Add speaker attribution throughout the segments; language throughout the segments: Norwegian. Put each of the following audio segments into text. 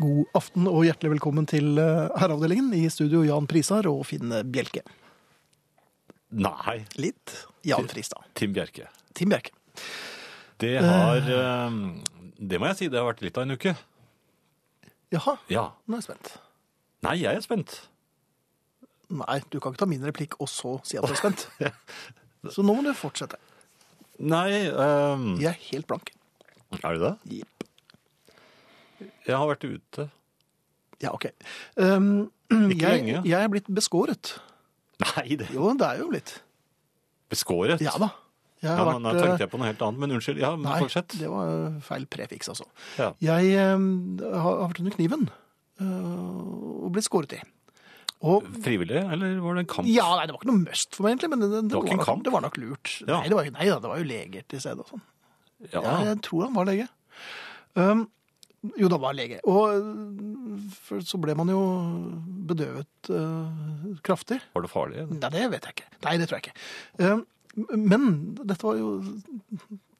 Speaker 1: God aften og hjertelig velkommen til eh, Herreavdelingen. I studio Jan Prisar og Finn Bjelke.
Speaker 2: Nei,
Speaker 1: Litt Jan Fristad.
Speaker 2: Tim Bjerke.
Speaker 1: Tim Bjerke.
Speaker 2: Det
Speaker 1: Øh.
Speaker 2: har eh, Det må jeg si, det har vært litt av en uke.
Speaker 1: Jaha,
Speaker 2: Ja.
Speaker 1: nå er jeg spent.
Speaker 2: Nei, jeg er spent.
Speaker 1: Nei, du kan ikke ta min replikk og så si at du er spent. Så nå må du fortsette.
Speaker 2: Nei eh,
Speaker 1: Jeg er helt blank.
Speaker 2: Er du det?
Speaker 1: Jepp.
Speaker 2: Jeg har vært ute.
Speaker 1: Ja, OK. Um, jeg,
Speaker 2: lenge.
Speaker 1: jeg er blitt beskåret.
Speaker 2: Nei, det
Speaker 1: Jo, det er jo blitt.
Speaker 2: Beskåret?
Speaker 1: Ja da. Jeg
Speaker 2: Ja,
Speaker 1: har
Speaker 2: men da
Speaker 1: vært
Speaker 2: tenkte
Speaker 1: eh,
Speaker 2: jeg på noe helt annet, men unnskyld. Ja, men
Speaker 1: Nei,
Speaker 2: fortsett.
Speaker 1: det var eh, feil prefiks, altså.
Speaker 2: Ja.
Speaker 1: Jeg eh, har har vært under kniven eh, og blitt skåret i. Og
Speaker 2: Frivillig, eller var det en kamp?
Speaker 1: ja, nei, det var ikke noe must for meg, egentlig, men det, det,
Speaker 2: Det var ikke en
Speaker 1: nok,
Speaker 2: kamp?
Speaker 1: det var nok lurt.
Speaker 2: Ja.
Speaker 1: Nei, det var, ikke- nei da, det var jo leger til stedet og sånn.
Speaker 2: Ja.
Speaker 1: Ja, jeg tror han var lege. Um, jo, da var han lege. Og øh, for, så ble man jo bedøvet øh, kraftig.
Speaker 2: Var det farlig?
Speaker 1: Nei, det vet jeg ikke. Nei, det tror jeg ikke. Um, men dette var jo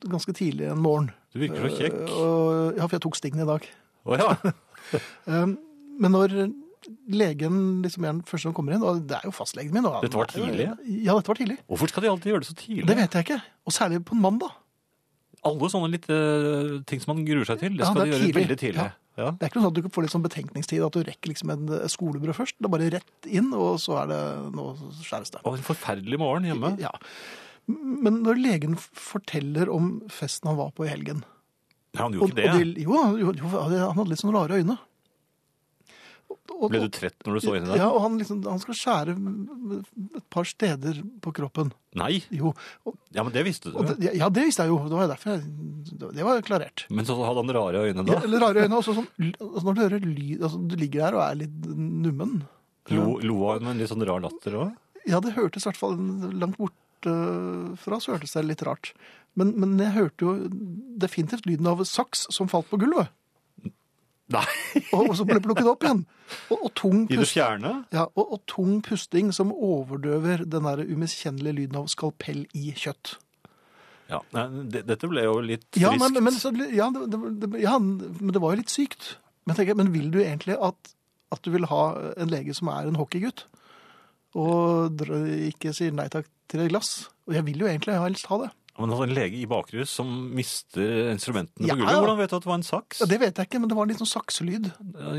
Speaker 1: ganske tidlig en morgen. Eh,
Speaker 2: Du virker så kjekk.
Speaker 1: Øh.
Speaker 2: Å
Speaker 1: Og, ja, for jeg tok stigene i dag.
Speaker 2: ja.
Speaker 1: Um, men når legen liksom er den første som kommer inn, og det er jo fastlegen min og,
Speaker 2: Dette var tidlig?
Speaker 1: Ja, dette var tidlig.
Speaker 2: Hvorfor skal de alltid gjøre det så tidlig?
Speaker 1: Det vet jeg ikke. Og særlig på en mandag.
Speaker 2: Alle sånne litt, eh, ting som man gruer seg til, det
Speaker 1: Ja,
Speaker 2: skal
Speaker 1: det
Speaker 2: de
Speaker 1: er
Speaker 2: gjøre
Speaker 1: tidlig.
Speaker 2: veldig tidlig. Ja.
Speaker 1: Det er ikke noe sånn at du får litt sånn betenkningstid, at du rekker liksom en et skolebrød først. Det er bare rett inn, og så er det nå skjæres det.
Speaker 2: Og en forferdelig morgen hjemme.
Speaker 1: Ja. Men når legen f- forteller om festen han var på i helgen
Speaker 2: Ja, han
Speaker 1: og-
Speaker 2: gjorde ikke det.
Speaker 1: og de- jo, jo, jo, han hadde litt sånn rare øyne. Og- og-
Speaker 2: Ble du trett når du så inn i det?
Speaker 1: Ja, og han, liksom, han skal skjære et par steder på kroppen.
Speaker 2: Nei.
Speaker 1: Jo, og,
Speaker 2: Ja, men det visste du.
Speaker 1: og det, ja, det visste jeg jo. Det var jo derfor jeg, det var klarert.
Speaker 2: Men så hadde han rare øyne da.
Speaker 1: Ja, eller rare øyne. Også sånn, altså når du hører lyd altså, Du ligger der og er litt nummen.
Speaker 2: Lo, lo han med en litt sånn rar latter òg?
Speaker 1: Ja, det hørtes i hvert fall langt borte eh, fra, så hørtes det litt rart. Men, men jeg hørte jo definitivt lyden av saks som falt på gulvet.
Speaker 2: Nei!
Speaker 1: Og, og så ble plukket opp igjen. Og, og tung
Speaker 2: I det
Speaker 1: pust.
Speaker 2: fjerne?
Speaker 1: Ja, og, og tung pusting som overdøver den der umiskjennelige lyden av skalpell i kjøtt.
Speaker 2: Ja, nei, det, Dette ble jo litt friskt.
Speaker 1: Ja, men, men, så, ja, det, det, det, ja, men det var jo litt sykt. Men, jeg tenker, men vil du egentlig at, at du vil ha en lege som er en hockeygutt, og dr- ikke sier nei takk til et glass? Og jeg vil jo egentlig helst ha det.
Speaker 2: Men altså, en lege i bakrus som mister instrumentene
Speaker 1: Ja,
Speaker 2: på gulvet,
Speaker 1: ja.
Speaker 2: hvordan vet du at det var en saks?
Speaker 1: Ja, det vet jeg ikke, men det var en litt sånn sakselyd.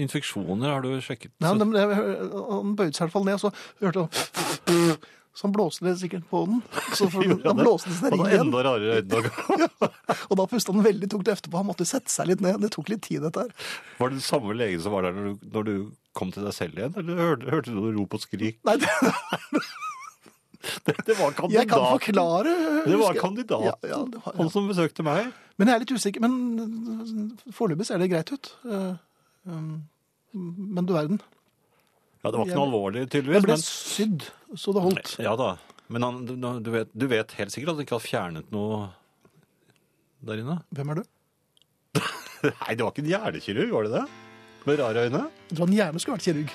Speaker 2: Infeksjoner har du sjekket?
Speaker 1: Nei, han, jeg, han bøyde seg i hvert fall ned, og så hørte han Så han blåste det sikkert på den. Så for, han blåste det seg
Speaker 2: Og
Speaker 1: inn
Speaker 2: da
Speaker 1: igjen.
Speaker 2: enda rarere øyne.
Speaker 1: Og da pustet han veldig tungt etterpå. Han måtte sette seg litt ned. Det tok litt tid, dette her.
Speaker 2: Var det den samme legen som var der når du, når du kom til deg selv igjen? Eller hørte, hørte du rop og skrik?
Speaker 1: Nei, det,
Speaker 2: Det var kandidaten.
Speaker 1: jeg kan forklare.
Speaker 2: Det var
Speaker 1: husker jeg.
Speaker 2: kandidaten.
Speaker 1: Ja, ja, det var, ja.
Speaker 2: Han som besøkte meg.
Speaker 1: Men jeg er litt usikker. Men foreløpig ser det greit ut. Eh, um, Men du verden.
Speaker 2: Ja, Det var ikke noe alvorlig,
Speaker 1: Jeg
Speaker 2: tydeligvis.
Speaker 1: ble
Speaker 2: men-
Speaker 1: sydd, så det holdt.
Speaker 2: Ja da. Men han, du, du, vet, du vet helt sikkert at han ikke har fjernet noe der inne?
Speaker 1: Hvem er du?
Speaker 2: Nei, det var ikke en hjernekirurg, var det det? Med rare øyne.
Speaker 1: Jeg tror han gjerne skulle vært kirurg.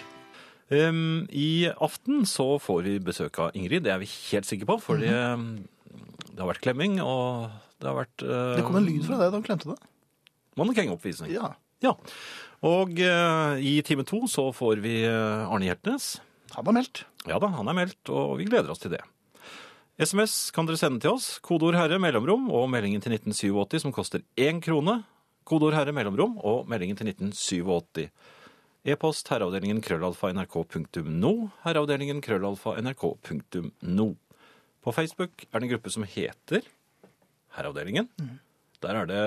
Speaker 2: Ehm, I aften så får vi besøk av Ingrid, det er vi helt sikre på. Fordi ehm, det har vært klemming, og det har vært uh,
Speaker 1: Det kom en lyd fra deg da han klemte det.
Speaker 2: mannekengoppvisning.
Speaker 1: Ja.
Speaker 2: Ja. Og eh, i time to så får vi eh, Arne Hjertnes.
Speaker 1: Han var meldt.
Speaker 2: Ja da, han er meldt, og vi gleder oss til det. SMS kan dere sende til oss. Kodeord herre, mellomrom og meldingen til 1987 som koster én krone. Kodeord herre, mellomrom og meldingen til 1987. E-post herreavdelingen krøllalfa nrk.no. Herreavdelingen krøllalfa nrk.no. På Facebook er det en gruppe som heter Herreavdelingen. Der er det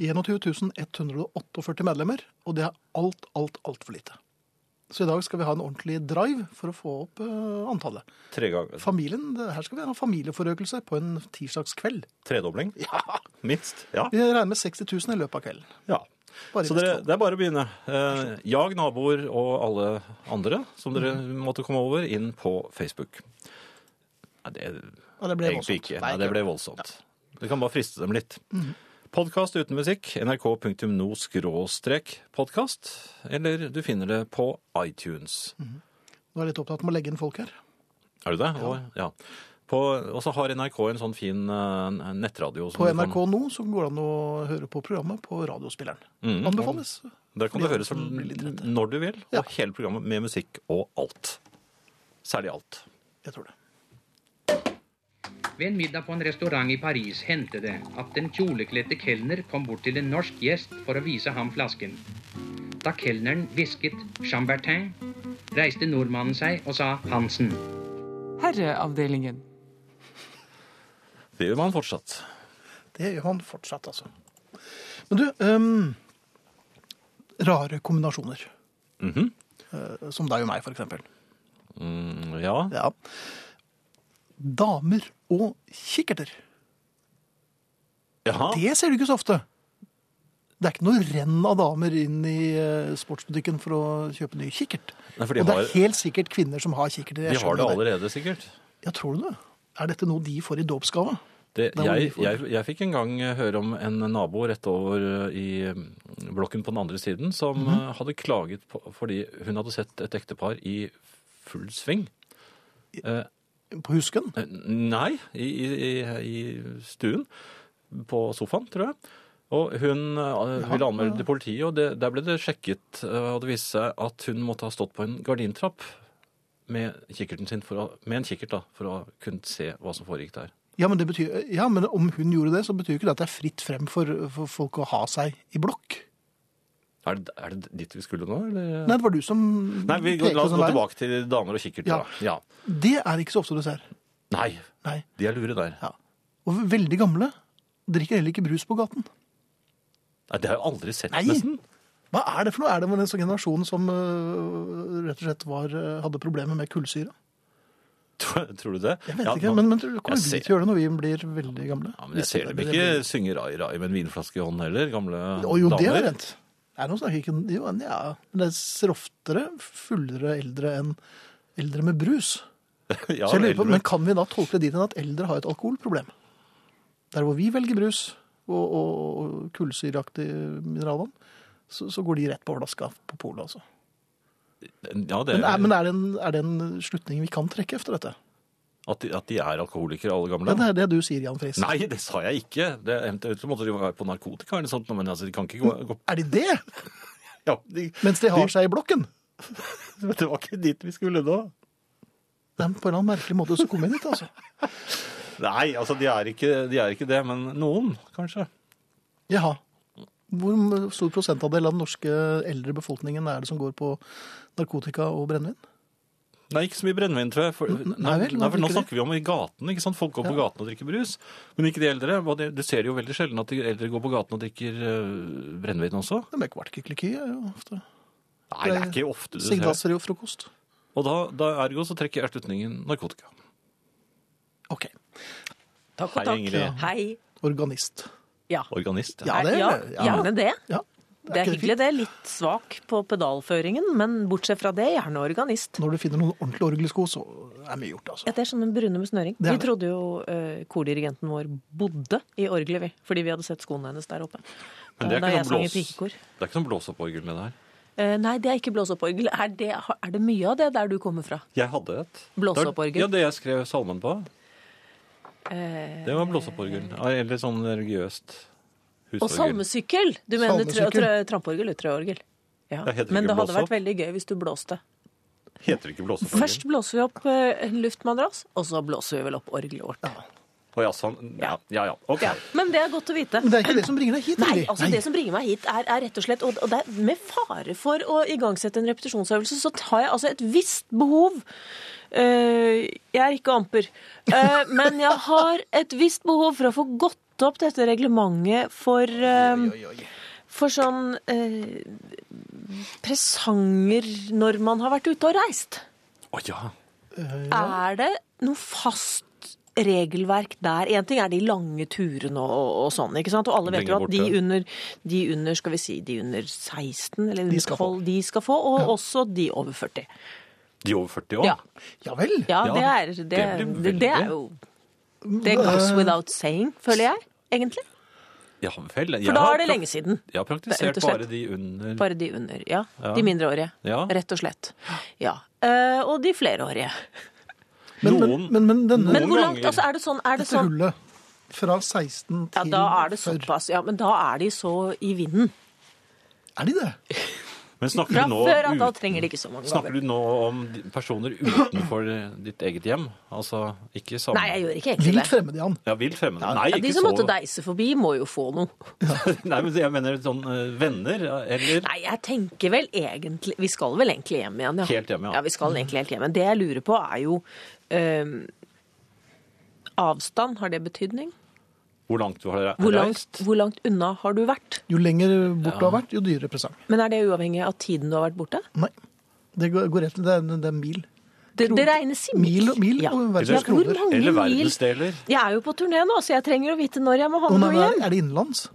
Speaker 1: 21 148 medlemmer, og det er alt, alt, altfor lite. Så i dag skal vi ha en ordentlig drive for å få opp eh, antallet.
Speaker 2: tre ganger
Speaker 1: Familien, det- Her skal vi ha familieforøkelse på en tirsdagskveld.
Speaker 2: tredobling,
Speaker 1: Ja.
Speaker 2: minst. Ja.
Speaker 1: Vi regner med 60 000 i løpet av kvelden.
Speaker 2: Ja.
Speaker 1: Bare i
Speaker 2: så dere,
Speaker 1: Vestfold.
Speaker 2: det er bare å begynne. Eh, jag naboer og alle andre som dere
Speaker 1: Mhm.
Speaker 2: måtte komme over, inn på Facebook. Nei, det
Speaker 1: Ja, det Mhm. ble
Speaker 2: egentlig
Speaker 1: voldsomt.
Speaker 2: ikke.
Speaker 1: Nei,
Speaker 2: Nei, det ble voldsomt. Det kan bare friste dem litt. Podkast uten musikk, nrk.no-podkast, eller du finner det på iTunes.
Speaker 1: Mhm. Nå er jeg litt opptatt med å legge inn folk her.
Speaker 2: Er du det? Og, ja. På, og så har NRK en sånn fin eh, nettradio. som
Speaker 1: På
Speaker 2: du kan-
Speaker 1: NRK nå så går det an å høre på programmet på radiospilleren.
Speaker 2: Mm.
Speaker 1: Anbefales.
Speaker 2: Der kan
Speaker 1: Ja,
Speaker 2: du høre så
Speaker 1: den blir litt trett.
Speaker 2: når du vil,
Speaker 1: Ja.
Speaker 2: og hele programmet med musikk og alt. Særlig alt.
Speaker 1: Jeg tror det.
Speaker 3: Ved en middag på en restaurant i Paris hendte det at en kjolekledte kelner kom bort til en norsk gjest for å vise ham flasken. Da kelneren hvisket 'Chambertin', reiste nordmannen seg og sa 'Hansen'.
Speaker 4: Herreavdelingen.
Speaker 2: Det gjør man fortsatt.
Speaker 1: Det gjør man fortsatt, altså. Men du, ehm, rare kombinasjoner.
Speaker 2: Mhm.
Speaker 1: Eh, som deg og meg, for eksempel.
Speaker 2: Mm, ja.
Speaker 1: Ja. Damer og kikkerter.
Speaker 2: Jaha.
Speaker 1: Det ser du ikke så ofte. Det er ikke noe renn av damer inn i eh, sportsbutikken for å kjøpe ny kikkert.
Speaker 2: Nei, for de
Speaker 1: og det
Speaker 2: har-
Speaker 1: er helt sikkert kvinner som har kikkerter. jeg
Speaker 2: De
Speaker 1: skjønner
Speaker 2: har det allerede, sikkert.
Speaker 1: Ja, tror du det? Er dette noe de får i dåpsgave?
Speaker 2: Det,
Speaker 1: Da må
Speaker 2: jeg,
Speaker 1: vi få-
Speaker 2: jeg, jeg fikk en gang eh, høre om en nabo rett over eh, i mm, blokken på den andre siden som
Speaker 1: Mhm.
Speaker 2: eh, hadde klaget på, fordi hun hadde sett et ektepar i full sving. Eh,
Speaker 1: På husken?
Speaker 2: eh, nei, i, i, i- i stuen. På sofaen, tror jeg. Og hun eh, ville anmelde til politiet, og det, der ble det sjekket. eh, Og det viste seg at hun måtte ha stått på en gardintrapp med, kikkerten sin for å, med en kikkert da, for å kunne se hva som foregikk der.
Speaker 1: Ja men, det betyr, ja, men om hun gjorde det, så betyr jo ikke det at det er fritt frem for, for folk å ha seg i blokk.
Speaker 2: Er det, er det dit vi skulle nå, eller?
Speaker 1: Nei, det var du som
Speaker 2: Nei, vi,
Speaker 1: pekte
Speaker 2: la oss
Speaker 1: den
Speaker 2: gå
Speaker 1: veien.
Speaker 2: tilbake til damer og kikkert.
Speaker 1: sånn Ja.
Speaker 2: Ja. Ja.
Speaker 1: Det er ikke så ofte du ser.
Speaker 2: Nei,
Speaker 1: Nei.
Speaker 2: de er lure der.
Speaker 1: Ja. Og veldig gamle drikker heller ikke brus på gaten.
Speaker 2: Nei, Det har jeg aldri sett,
Speaker 1: Nei.
Speaker 2: nesten.
Speaker 1: Hva er det for noe? Er det vel en sånn generasjon som øh, rett og slett var, øh, hadde problemer med kullsyre?
Speaker 2: Tror, tror du det?
Speaker 1: Jeg vet
Speaker 2: Ja,
Speaker 1: ikke,
Speaker 2: nå-
Speaker 1: men, men tror- kommer
Speaker 2: jeg
Speaker 1: vi
Speaker 2: ser-
Speaker 1: til å gjøre det når vi blir veldig gamle?
Speaker 2: ja, men Jeg ser dem ikke synge rai rai med en vinflaske i hånden heller, gamle
Speaker 1: Å jo, det har
Speaker 2: damer.
Speaker 1: rent. Er det noen snakker ikke jo, men ja. Men det ser oftere fullere eldre enn eldre med brus.
Speaker 2: ja,
Speaker 1: Så jeg lurer på,
Speaker 2: eldre.
Speaker 1: men kan vi da tolke det dit hen at eldre har et alkoholproblem? Der hvor vi velger brus og, og, og kullsyreaktig mineralvann, så, så går de rett på flaska på polet, altså.
Speaker 2: ja, det
Speaker 1: Men, er,
Speaker 2: er,
Speaker 1: men er, det en, er det en slutning vi kan trekke etter dette?
Speaker 2: at, de, at de er alkoholikere, alle
Speaker 1: Ja,
Speaker 2: gamle.
Speaker 1: det er det du sier, Jan Friis.
Speaker 2: Nei, det sa jeg ikke. Det eventuelt så måtte de være på narkotika eller sånt, men altså, de kan ikke gå, gå
Speaker 1: Er de det?
Speaker 2: ja, de,
Speaker 1: Mens de har seg i blokken?
Speaker 2: Det var ikke dit vi skulle nå.
Speaker 1: Det er på en eller annen merkelig måte som kom inn hit, altså.
Speaker 2: Nei, altså, de er ikke, de er ikke det, men noen, kanskje.
Speaker 1: Jaha. Hvor stor prosentandel av den norske eldre befolkningen er det som går på narkotika og brennevin?
Speaker 2: Nei, ikke så mye brennevin, tror jeg. For, nei,
Speaker 1: vel,
Speaker 2: nei, for nå
Speaker 1: hvorfor ikke
Speaker 2: snakker vi om i gaten, ikke sant? Folk går på gaten og drikker brus, men ikke de eldre. Og det- Du ser jo veldig sjelden at de eldre går på gaten og drikker øh, brennevin også.
Speaker 1: Det er kvartkikkeliki er jo ofte.
Speaker 2: Nei, det er ikke ofte du ser.
Speaker 1: Signalser og frokost.
Speaker 2: Og da, da ergo så trekker jeg slutningen narkotika.
Speaker 1: Ok.
Speaker 5: Takk
Speaker 2: Hei,
Speaker 5: og takk.
Speaker 2: Ingrid.
Speaker 5: Hei.
Speaker 1: Organist.
Speaker 5: Ja.
Speaker 2: Organist.
Speaker 1: Ja, det er-
Speaker 5: ja,
Speaker 1: ja.
Speaker 5: gjerne det.
Speaker 1: Ja.
Speaker 5: Det er hyggelig, det. er Litt svak på pedalføringen, men bortsett fra det, gjerne organist.
Speaker 1: Når du finner noen ordentlige orgelsko, så er mye gjort, altså.
Speaker 5: Ja, det er sånne brune med snøring.
Speaker 1: Det er
Speaker 5: Vi
Speaker 1: det.
Speaker 5: trodde jo eh, kordirigenten vår bodde i orgelet, vi. Fordi vi hadde sett skoene hennes der oppe. Eh,
Speaker 2: Men det er,
Speaker 5: da
Speaker 2: ikke
Speaker 5: jeg
Speaker 2: noe
Speaker 5: sang i
Speaker 2: blås-
Speaker 5: pikekor.
Speaker 2: det er ikke noe blåsopporgel det der.
Speaker 5: Eh, nei, det er ikke blåseopporgel. Er, det- er det mye av det der du kommer fra?
Speaker 2: Jeg hadde et.
Speaker 5: Blåseopporgel?
Speaker 2: Ja, det jeg skrev salmen på.
Speaker 5: Eh,
Speaker 2: Det var blåsopporgel. Eller sånn religiøst husorgel.
Speaker 5: og salmesykkel! Du mener tre-
Speaker 1: Salmesykkel.
Speaker 5: tre- trampeorgel eller treorgel? Ja.
Speaker 2: Det heter
Speaker 5: Men
Speaker 2: ikke
Speaker 5: det hadde
Speaker 2: blåseopp.
Speaker 5: vært veldig gøy hvis du blåste.
Speaker 2: Heter det ikke blåsopporgel?
Speaker 5: Først blåser vi opp eh, en luftmadrass, og så blåser vi vel opp orgelet vårt.
Speaker 2: Å ja, sånn. Ja, ja. ja. Ok.
Speaker 5: Ja, men det er godt å vite.
Speaker 1: Men det er ikke det som bringer deg hit,
Speaker 5: Nei,
Speaker 1: Ingrid.
Speaker 5: altså
Speaker 1: Nei.
Speaker 5: det som bringer meg hit er, er rett og slett, og og det er med fare for å igangsette en repetisjonsøvelse, så tar jeg altså et visst behov. Eh, jeg er ikke amper, Eh, men jeg har et visst behov for å få gått opp dette reglementet for, eh, for sånn eh, presanger når man har vært ute og reist.
Speaker 2: Å ja.
Speaker 5: Er det noe fast regelverk der? Én ting er de lange turene og, og sånn, ikke sant? Og alle vet
Speaker 2: Lenger
Speaker 5: jo at de
Speaker 2: borte.
Speaker 5: under, de under, skal vi si, de under 16 eller under
Speaker 1: skal
Speaker 5: 12, de skal få, og også de over 40.
Speaker 2: De over 40 år?
Speaker 5: Ja,
Speaker 1: Ja vel.
Speaker 5: ja,
Speaker 2: Ja,
Speaker 5: det, er, det, det,
Speaker 2: det blir
Speaker 5: det
Speaker 2: veldig.
Speaker 5: er jo Det goes without saying, føler jeg, egentlig.
Speaker 2: Ja vel.
Speaker 5: For da er det lenge siden.
Speaker 2: Jeg har
Speaker 5: Rett
Speaker 2: praktisert
Speaker 5: og slett.
Speaker 2: bare de under
Speaker 5: Bare de under. Ja.
Speaker 2: Ja.
Speaker 5: De mindreårige.
Speaker 2: Ja.
Speaker 5: Rett og slett. Ja. Eh, og de flerårige.
Speaker 1: Men, men,
Speaker 2: Noen-
Speaker 1: men, men denne
Speaker 5: Men hvor langt
Speaker 2: ganger.
Speaker 5: altså, er det sånn, er det
Speaker 1: dette
Speaker 5: sånn
Speaker 1: hullet fra 16
Speaker 5: Ja,
Speaker 1: til
Speaker 5: da er det
Speaker 1: før-
Speaker 5: såpass. Ja, men da er de så i vinden.
Speaker 1: Er de det?
Speaker 2: Men snakker
Speaker 5: Fra
Speaker 2: du, nå
Speaker 5: før av da
Speaker 2: ut-
Speaker 5: trenger de ikke så mange
Speaker 2: snakker
Speaker 5: gaver.
Speaker 2: du nå om de- personer utenfor eh, ditt eget hjem? Altså ikke samme
Speaker 5: Nei, jeg gjør ikke egentlig
Speaker 1: Vilt
Speaker 5: det.
Speaker 1: fremmede, Jan.
Speaker 2: Ja, vilt fremmede. Nei,
Speaker 5: Ja, de
Speaker 2: ikke
Speaker 5: som
Speaker 2: så
Speaker 5: måtte deise forbi, må jo få noe.
Speaker 2: Nei, men jeg mener sånn eh, venner eller
Speaker 5: Nei, jeg tenker vel egentlig Vi skal vel egentlig hjem igjen, ja.
Speaker 2: Helt hjem, ja.
Speaker 5: vi skal egentlig helt hjem igjen. Det jeg lurer på, er jo øhm, Avstand, har det betydning?
Speaker 2: hvor langt du har re- reist.
Speaker 5: Hvor langt, hvor langt unna har du vært?
Speaker 1: Jo lenger bort du har vært, jo dyrere presang.
Speaker 5: Men er det uavhengig av tiden du har vært borte?
Speaker 1: Nei. Det går går rett til det er, det er mil.
Speaker 5: Det, det regnes i
Speaker 1: Mil, mil
Speaker 5: Ja.
Speaker 1: og
Speaker 2: Eller-
Speaker 1: verdens
Speaker 5: hvor
Speaker 1: kroner.
Speaker 5: mange
Speaker 2: Eller
Speaker 5: mil?
Speaker 2: verdensdeler.
Speaker 5: Jeg er jo på turné nå, så jeg trenger å vite når jeg må ha
Speaker 1: Å,
Speaker 5: med
Speaker 1: nei,
Speaker 5: noe
Speaker 1: nei,
Speaker 5: hjem.
Speaker 1: er det innenlands?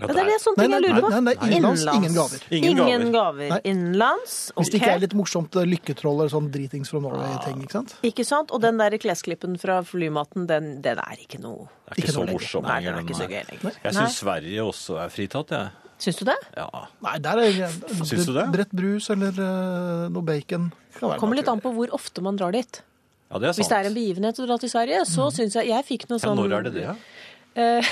Speaker 2: Ja,
Speaker 5: Ja, det er det sånne ting
Speaker 1: Nei,
Speaker 5: jeg
Speaker 1: nei,
Speaker 5: lurer på.
Speaker 1: nei, nei, innenlands, ingen gaver.
Speaker 2: Ingen gaver.
Speaker 5: Ingen gaver.
Speaker 1: Nei.
Speaker 5: Innenlands.
Speaker 1: Hvis det ikke er
Speaker 5: Ok.
Speaker 1: litt morsomt eh, lykketroll eller sånn dritings fra Norway-ting, ikke sant?
Speaker 5: Ikke sant? Og den der klesklippen fra flymaten, den, den er ikke
Speaker 2: Det
Speaker 5: noe
Speaker 2: er ikke,
Speaker 1: Ikke
Speaker 2: så
Speaker 1: noe lenger.
Speaker 2: morsom
Speaker 5: Nei, den er
Speaker 2: lenger,
Speaker 5: ikke så
Speaker 2: her.
Speaker 5: gøy lenger.
Speaker 2: Jeg
Speaker 5: Nei.
Speaker 2: syns Sverige også er fritatt, jeg.
Speaker 5: Syns du det?
Speaker 2: Ja.
Speaker 1: Nei, der er det
Speaker 2: Syns du det?
Speaker 1: Brett brus eller eh, noe bacon. Kan være
Speaker 5: Kommer litt
Speaker 1: naturlig.
Speaker 5: an på hvor ofte man drar dit.
Speaker 2: ja, det er sant.
Speaker 5: Hvis det er en begivenhet å dra til Sverige, så
Speaker 1: Mm.
Speaker 5: syns jeg Jeg fikk noe
Speaker 2: ja,
Speaker 5: sånn
Speaker 2: når er det det?
Speaker 5: Eh,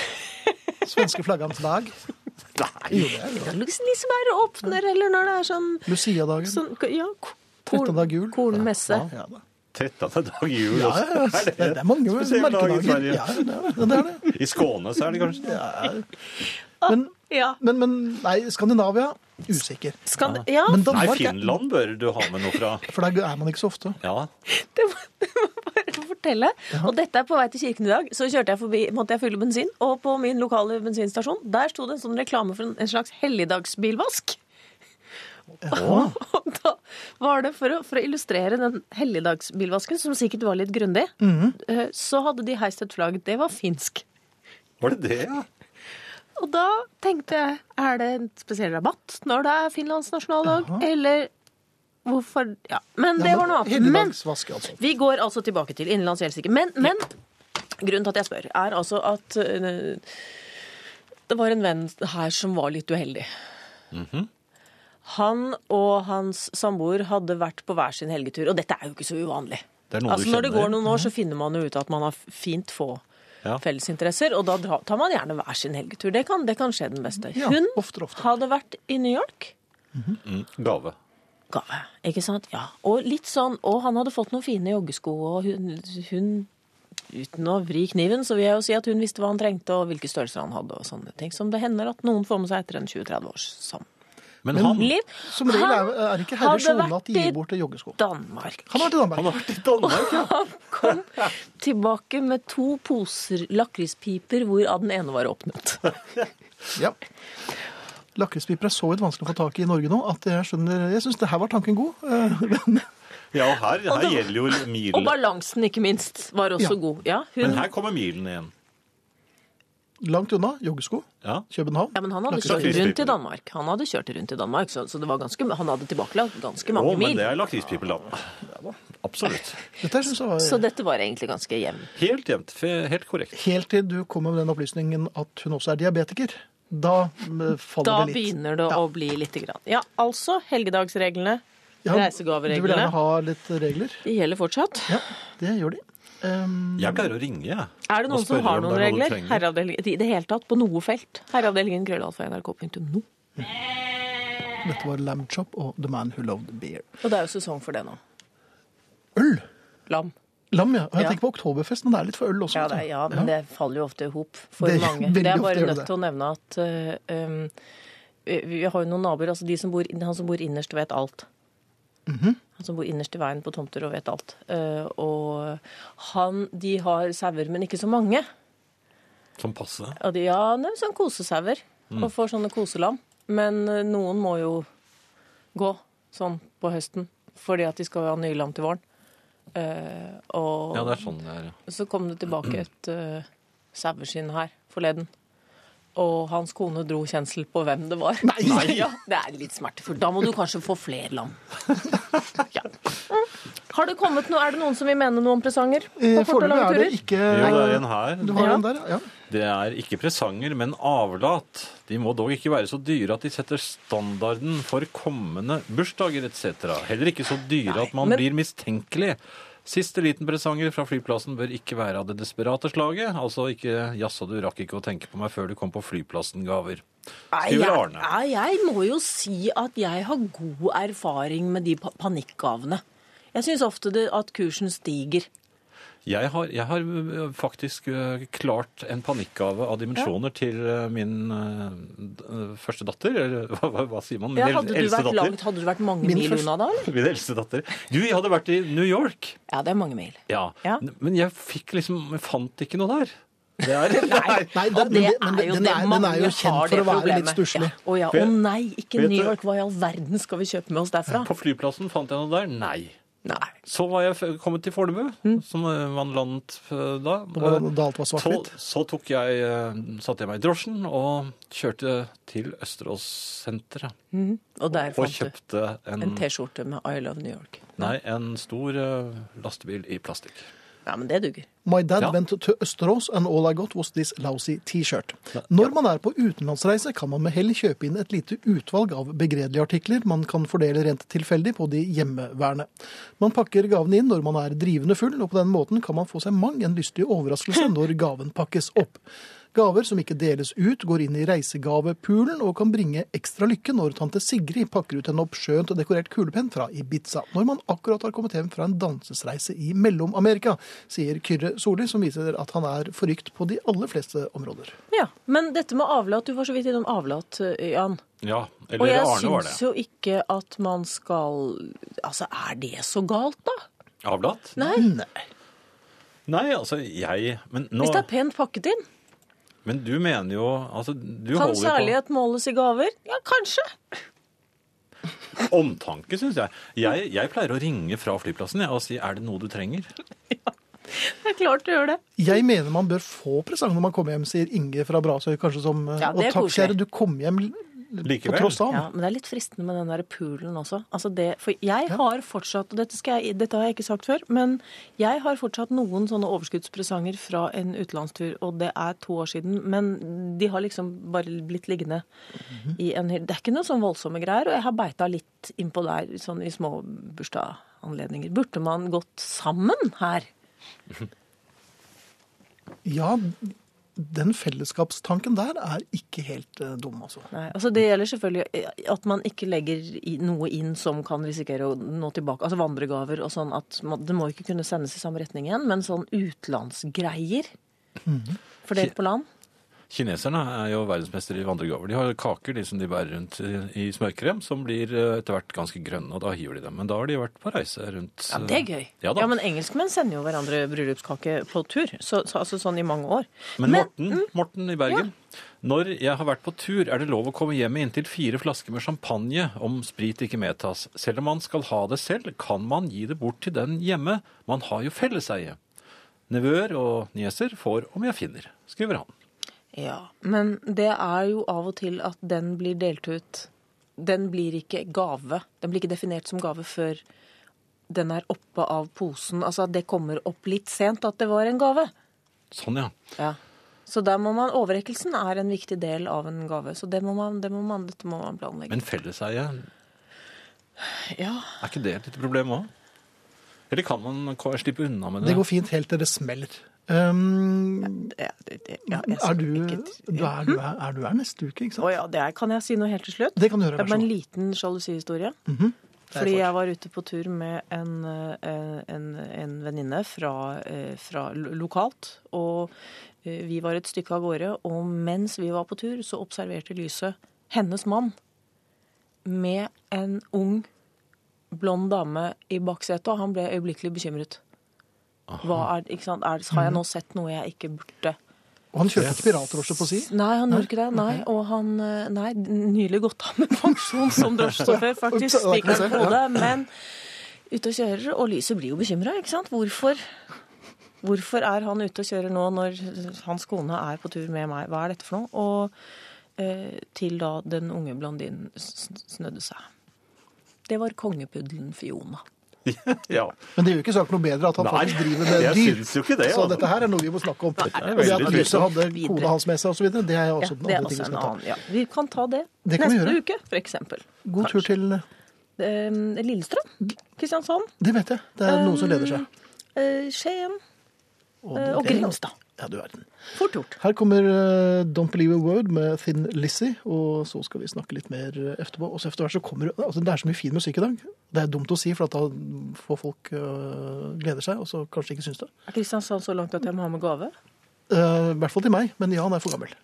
Speaker 1: Svenske flaggans dag. Jo, det er det.
Speaker 5: liksom Luxemburg åpner, eller når det er sånn,
Speaker 1: Lucia-dagen.
Speaker 5: sånn Ja, ko-
Speaker 1: Trettiende av jul.
Speaker 5: korn, kornmesse.
Speaker 1: Ja, da.
Speaker 2: 13. dag jul
Speaker 1: Ja,
Speaker 2: også.
Speaker 1: ja, ja. det, det er mange
Speaker 2: Spesiell dag i
Speaker 1: merkedager.
Speaker 2: Sverige.
Speaker 1: Ja, det er det. det, er det.
Speaker 2: I Skåne så er det kanskje det.
Speaker 1: Men,
Speaker 5: Ja.
Speaker 1: men, men nei, Skandinavia usikker.
Speaker 5: Skand ja,
Speaker 1: Men
Speaker 2: Nei,
Speaker 1: Danmark, ja,
Speaker 2: Finland bør du ha med noe fra.
Speaker 1: for der er man ikke så ofte.
Speaker 2: Ja.
Speaker 5: det må det må jeg bare fortelle. Og dette er på vei til kirken i dag. Så kjørte jeg forbi, måtte jeg fylle bensin, og på min lokale bensinstasjon der sto det en sånn reklame for en, en slags helligdagsbilvask. Og da var det for å, for å illustrere den helligdagsbilvasken, som sikkert var litt grundig, eh, så hadde de heist et flagg. Det var finsk.
Speaker 2: Var det det, ja?
Speaker 5: Og da tenkte jeg, er det en spesiell rabatt når det er Finlands nasjonaldag, eller hvorfor Ja, men det
Speaker 1: Ja,
Speaker 5: var noe annet. Men
Speaker 1: Helligdagsvask, altså.
Speaker 5: vi går altså tilbake til innenlands helsike. Men, men grunnen til at jeg spør, er altså at øh, det var en venn her som var litt uheldig.
Speaker 2: Mhm.
Speaker 5: Han og hans samboer hadde vært på hver sin helgetur, og dette er jo ikke så uvanlig.
Speaker 2: Det er noen
Speaker 5: Altså
Speaker 2: du
Speaker 5: Når det
Speaker 2: kjenner. Mhm.
Speaker 5: går noen år, så finner man jo ut at man har fint få
Speaker 2: Ja.
Speaker 5: fellesinteresser, og da dra- tar man gjerne hver sin helgetur. Det kan, det kan skje den beste.
Speaker 1: Ja,
Speaker 5: Hun
Speaker 1: oftere, oftere.
Speaker 5: hadde vært i New York
Speaker 2: Gave.
Speaker 5: gave. Ikke sant? Ja. Og litt sånn Og han hadde fått noen fine joggesko, og hun, hun Uten å vri kniven, så vil jeg jo si at hun visste hva han trengte, og hvilke størrelser han hadde, og sånne ting. Som det hender at noen får med seg etter en 20-30 års samliv.
Speaker 2: Men han,
Speaker 1: Som regel er, er ikke herre
Speaker 5: hadde
Speaker 1: Sjone at de
Speaker 5: vært i
Speaker 1: gir bort joggesko.
Speaker 5: Danmark.
Speaker 1: Han har vært i Danmark.
Speaker 2: han har vært i Danmark, ja.
Speaker 5: Kom tilbake med to poser lakrispiper, hvorav den ene var åpnet.
Speaker 1: Ja. Lakrispiper er så vidt vanskelig å få tak i i Norge nå at jeg skjønner Jeg syns det her var tanken god. Eh, men-
Speaker 2: Ja, og her,
Speaker 5: Og
Speaker 2: her
Speaker 5: det-
Speaker 2: gjelder jo
Speaker 5: Og
Speaker 2: milen.
Speaker 5: balansen, ikke minst, var også
Speaker 1: Ja.
Speaker 5: god. Ja, hun,
Speaker 2: Men her kommer milen igjen.
Speaker 1: Langt unna. Joggesko.
Speaker 2: Ja.
Speaker 1: København.
Speaker 5: ja, men han hadde
Speaker 1: Lakrispiper.
Speaker 5: kjørt rundt i Danmark. Han hadde kjørt rundt i Danmark, så, så det var ganske, han hadde tilbakelagt ganske
Speaker 2: Å,
Speaker 5: mange
Speaker 2: men
Speaker 5: mil.
Speaker 2: det er lakrispipeland. Absolutt.
Speaker 1: Dette her synes jeg var
Speaker 5: Så dette var egentlig ganske jevnt.
Speaker 2: Helt jevnt. Fe- Helt korrekt.
Speaker 1: Helt til du kommer med den opplysningen at hun også er diabetiker. Da eh, faller
Speaker 5: Da
Speaker 1: det litt.
Speaker 5: begynner det å bli lite grann. Ja, altså helgedagsreglene,
Speaker 1: Ja, Du vil
Speaker 5: reisegavereglene,
Speaker 1: gjerne ha litt regler?
Speaker 5: de gjelder fortsatt.
Speaker 1: Ja, det gjør de. Ehm,
Speaker 2: Jeg pleier å ringe, jeg.
Speaker 5: Mm. Er
Speaker 2: og
Speaker 5: det noen som
Speaker 2: spørre
Speaker 5: har
Speaker 2: om
Speaker 5: noen
Speaker 2: det er noe du
Speaker 5: regler?
Speaker 2: trenger.
Speaker 5: Herreavdelingen, I det hele tatt, på noe felt. Herreavdelingen krøllalfa.nrk.no.
Speaker 1: dette var Lamb Chop og The Man Who Loved Beer.
Speaker 5: Og det er jo sesong for det nå.
Speaker 1: Øl!
Speaker 5: Lam.
Speaker 1: Lam, ja. Og jeg
Speaker 5: Ja.
Speaker 1: tenker på oktoberfest, men det er litt for øl også. altså.
Speaker 5: Ja,
Speaker 1: vet du.
Speaker 5: det, er- ja, men det faller jo ofte i hop for
Speaker 1: Det-
Speaker 5: mange.
Speaker 1: veldig
Speaker 5: Det er
Speaker 1: ofte
Speaker 5: bare
Speaker 1: gjør det
Speaker 5: nødt
Speaker 1: det.
Speaker 5: til å nevne at øh, øhm, vi vi har jo noen naboer altså de som bor, inn- Han som bor innerst, vet alt.
Speaker 1: Mhm.
Speaker 5: Han som bor innerst i veien på tomter og vet alt. Eh, og han De har sauer, men ikke så mange.
Speaker 2: Som passe.
Speaker 5: Og de, ja, det er sånn kosesauer. Og får sånne koselam. Men eh, noen må jo gå sånn på høsten. Fordi at de skal jo ha nye lam til våren. Eh, og
Speaker 2: Ja, det er sånn det er.
Speaker 5: så kom det tilbake et uh, saueskinn her forleden. Og hans kone dro kjensel på hvem det var.
Speaker 1: Nei!
Speaker 5: Ja, det er litt smertefullt. Da må du kanskje få flere lam. Ja. Mm. Har det kommet noe? Er det noen som vil mene noe om presanger?
Speaker 1: Eh,
Speaker 5: På
Speaker 1: Foreløpig
Speaker 5: korte og lange
Speaker 1: er det
Speaker 5: turer?
Speaker 1: ikke
Speaker 2: Jo, det er en her.
Speaker 1: Du har
Speaker 5: Ja.
Speaker 1: en der, ja.
Speaker 2: Det er ikke presanger, men avlat. De må dog ikke være så dyre at de setter standarden for kommende bursdager etc. Heller ikke så dyre at man
Speaker 5: men-
Speaker 2: blir mistenkelig. Siste liten presanger fra flyplassen bør ikke være av det desperate slaget. Altså ikke 'jaså, du rakk ikke å tenke på meg før du kom på flyplassen'-gaver.
Speaker 5: Nei,
Speaker 2: Skriver
Speaker 5: jeg,
Speaker 2: Arne.
Speaker 5: nei, jeg må jo si at jeg har god erfaring med de pa- panikkgavene. Jeg syns ofte det, at kursen stiger.
Speaker 2: Jeg har, jeg har øh, faktisk øh, klart en panikkgave av dimensjoner til øh, min øh, d- øh, første datter. Eller hva, hva, hva sier man? Min
Speaker 5: Ja,
Speaker 2: el-
Speaker 5: hadde, du
Speaker 2: eldste
Speaker 5: vært
Speaker 2: datter.
Speaker 5: langt, hadde du vært mange
Speaker 1: Min
Speaker 5: mil
Speaker 1: første-
Speaker 5: unna da, eller?
Speaker 2: Min eldste datter. Du, jeg hadde vært i New York.
Speaker 5: Ja, det er mange mil.
Speaker 2: Ja.
Speaker 5: Ja.
Speaker 2: N- Men jeg fikk liksom Jeg fant ikke noe der. Det er, nei.
Speaker 1: Nei,
Speaker 5: Og
Speaker 1: den,
Speaker 5: det
Speaker 1: men
Speaker 5: er jo
Speaker 1: den,
Speaker 5: det
Speaker 1: er, den
Speaker 5: mange
Speaker 1: er jo
Speaker 5: har,
Speaker 1: kjent for
Speaker 5: det
Speaker 1: å være litt
Speaker 5: problemet.
Speaker 1: stusslig.
Speaker 5: Ja. Å ja, å
Speaker 2: Vet-
Speaker 5: nei, ikke
Speaker 2: vet
Speaker 5: New
Speaker 2: du-
Speaker 5: York. Hva i all verden skal vi kjøpe med oss derfra?
Speaker 2: På flyplassen fant jeg noe der. Nei.
Speaker 5: Nei.
Speaker 2: Så var jeg f- kommet til Fornebu,
Speaker 5: Mm.
Speaker 2: som eh, man landet eh, da.
Speaker 1: Det var da alt var
Speaker 2: Så,
Speaker 1: svart-hvitt.
Speaker 2: så tok jeg, eh, satte jeg meg i drosjen og kjørte til Østeråssenteret.
Speaker 5: Og der
Speaker 2: Og
Speaker 5: fant du
Speaker 2: kjøpte en,
Speaker 5: en T-skjorte med I love New York.
Speaker 2: nei, en stor eh, lastebil i plastikk.
Speaker 5: Ja, men det duger.
Speaker 1: My dad
Speaker 2: Ja.
Speaker 1: went to Østerås and all I got was this lousy t-shirt. Når man er på utenlandsreise kan man med hell kjøpe inn et lite utvalg av begredelige artikler man kan fordele rent tilfeldig på de hjemmeværende. Man pakker gavene inn når man er drivende full, og på den måten kan man få seg mang en lystig overraskelse når gaven pakkes opp. Gaver som ikke deles ut, går inn i reisegavepulen og kan bringe ekstra lykke når tante Sigrid pakker ut en oppskjønt dekorert kulepenn fra Ibiza, når man akkurat har kommet hjem fra en dansesreise i Mellom-Amerika, sier Kyrre Solli, som viser at han er forrykt på de aller fleste områder.
Speaker 5: Ja, Men dette med avlat, du var så vidt innom avlat, eh, Jan.
Speaker 2: Ja,
Speaker 5: Og
Speaker 2: eller
Speaker 5: jeg
Speaker 2: Arne var det.
Speaker 5: syns jo ikke at man skal Altså, er det så galt, da?
Speaker 2: Avlatt?
Speaker 5: Nei.
Speaker 2: Nei, altså jeg Men, nå,
Speaker 5: Hvis det er pent pakket inn.
Speaker 2: men du mener jo altså, du
Speaker 5: Kan
Speaker 2: holder jo på-
Speaker 5: kjærlighet måles i gaver? Ja, kanskje.
Speaker 2: Omtanke, syns jeg. jeg. Jeg pleier å ringe fra flyplassen jeg, og si 'er det noe du trenger'?
Speaker 5: Det er klart du gjør det.
Speaker 1: Jeg mener man bør få presang når man kommer hjem, sier Inge fra Brasøy, kanskje som eh,
Speaker 5: Ja,
Speaker 1: Og
Speaker 5: det er
Speaker 1: takk,
Speaker 5: koselig.
Speaker 1: kjære, du kom hjem l- på
Speaker 2: Likevel.
Speaker 1: tross av.
Speaker 5: Ja, Men det er litt fristende med den der poolen også. Altså det, for jeg har fortsatt, og dette, skal jeg, dette har jeg ikke sagt før, men jeg har fortsatt noen sånne overskuddspresanger fra en utenlandstur, og det er to år siden. Men de har liksom bare blitt liggende i en hylle. Det er ikke noe sånn voldsomme greier, og jeg har beita litt innpå der sånn i små bursdagsanledninger. Burde man gått sammen her?
Speaker 1: Ja, den fellesskapstanken der er ikke helt eh, dum, altså.
Speaker 5: Nei, altså Det gjelder selvfølgelig at man ikke legger i- noe inn som kan risikere å nå tilbake. Altså Vandregaver og sånn. at man, Det må ikke kunne sendes i samme retning igjen. Men sånn utenlandsgreier fordelt på land
Speaker 2: Kineserne er jo verdensmestere i vandregaver. De har kaker de som de bærer rundt i i smørkrem, som blir eh, etter hvert ganske grønne, og da hiver de dem. Men da har de vært på reise rundt eh,
Speaker 5: Ja, Det er gøy.
Speaker 2: Ja, da.
Speaker 5: men engelskmenn sender jo hverandre bryllupskake på tur. Så, så, altså sånn i mange år.
Speaker 2: Men Morten,
Speaker 1: mm.
Speaker 2: Morten i Bergen, når jeg har vært på tur, er det lov å komme hjem med inntil fire flasker med champagne om sprit ikke medtas. Selv om man skal ha det selv, kan man gi det bort til den hjemme. Man har jo felleseie. Nevøer og nieser får om jeg finner, skriver han.
Speaker 5: Ja, Men det er jo av og til at den blir delt ut. Den blir ikke gave. Den blir ikke definert som gave før den er oppe av posen. Altså at det kommer opp litt sent at det var en gave.
Speaker 2: Sånn, ja.
Speaker 5: Ja. Så der må man, overrekkelsen er en viktig del av en gave. Så det må man, det må man, dette må man planlegge.
Speaker 2: Men felleseie, er
Speaker 5: ja.
Speaker 2: ikke det et lite problem òg? Eller kan man ko- slippe unna med det?
Speaker 1: Det går fint helt til det smeller. Um,
Speaker 5: Det, det, det, ja, jeg
Speaker 1: er,
Speaker 5: skal
Speaker 1: du,
Speaker 5: ikke t-
Speaker 1: du er, du er, er du her neste uke, ikke sant?
Speaker 5: Å ja, det er, kan jeg si noe helt til slutt?
Speaker 1: Det kan du gjøre,
Speaker 5: Det
Speaker 1: vær
Speaker 5: er
Speaker 1: så
Speaker 5: bare en
Speaker 1: god.
Speaker 5: liten sjalusihistorie.
Speaker 1: er
Speaker 5: Fordi
Speaker 1: for.
Speaker 5: jeg var ute på tur med en, eh, en, en venninne fra, eh, fra lo- lokalt. Og eh, vi var et stykke av gårde, og mens vi var på tur, så observerte lyset hennes mann med en ung, blond dame i baksetet, og han ble øyeblikkelig bekymret. Hva er, ikke sant? Er, har jeg nå sett noe jeg ikke burde?
Speaker 1: Og han kjørte ikke piratdrosje på si.
Speaker 5: Nei, han gjorde ikke det. Nei, og han eh, nei, nylig gått av med pensjon som drosjesjåfør,
Speaker 1: Og-
Speaker 5: faktisk.
Speaker 1: og- og-
Speaker 5: Spikeren på hodet. Men ute og kjører, og lyset blir jo bekymra, ikke sant. Hvorfor? Hvorfor er han ute og kjører nå når hans kone er på tur med meg? Hva er dette for noe? Og eh, til da den unge blondinen s- s- snødde seg. Det var kongepuddelen Fiona.
Speaker 2: ja.
Speaker 1: Men det gjør ikke saken noe bedre at han
Speaker 2: Nei,
Speaker 1: faktisk driver med
Speaker 2: jeg
Speaker 1: dyr.
Speaker 2: syns jo ikke det,
Speaker 1: Så
Speaker 2: altså.
Speaker 1: dette her er noe vi må snakke om.
Speaker 2: er
Speaker 1: Og det
Speaker 2: veldig
Speaker 1: at
Speaker 2: trist.
Speaker 1: lyset hadde
Speaker 5: Videre.
Speaker 1: kona hans med seg osv., det er
Speaker 5: Ja,
Speaker 1: også den
Speaker 5: det er
Speaker 1: andre tingen
Speaker 5: også
Speaker 1: vi
Speaker 5: en
Speaker 1: skal ta.
Speaker 5: annen. Ja. Vi kan ta det,
Speaker 1: Det kan vi
Speaker 5: neste
Speaker 1: gjøre.
Speaker 5: uke, f.eks.
Speaker 1: God tur til Mm.
Speaker 5: Eh, Lillestrøm? Kristiansand?
Speaker 1: Det vet jeg. Det er noen som leder seg.
Speaker 5: eh, Skien eh, og
Speaker 1: det-
Speaker 5: Grimstad.
Speaker 1: Ja, du verden.
Speaker 5: Fort gjort.
Speaker 1: Her kommer eh, Don't Believe a Word med Thin Lizzie, og så skal vi snakke litt mer eh, etterpå. Og så etter hvert så kommer det- altså, Det er så mye fin musikk i dag. Det er dumt å si, for at da får folk eh, gleder seg, og så kanskje ikke syns det.
Speaker 5: Er Kristiansand så langt at jeg må ha med gave?
Speaker 1: Eh, I hvert fall til meg, men Jan er for gammel.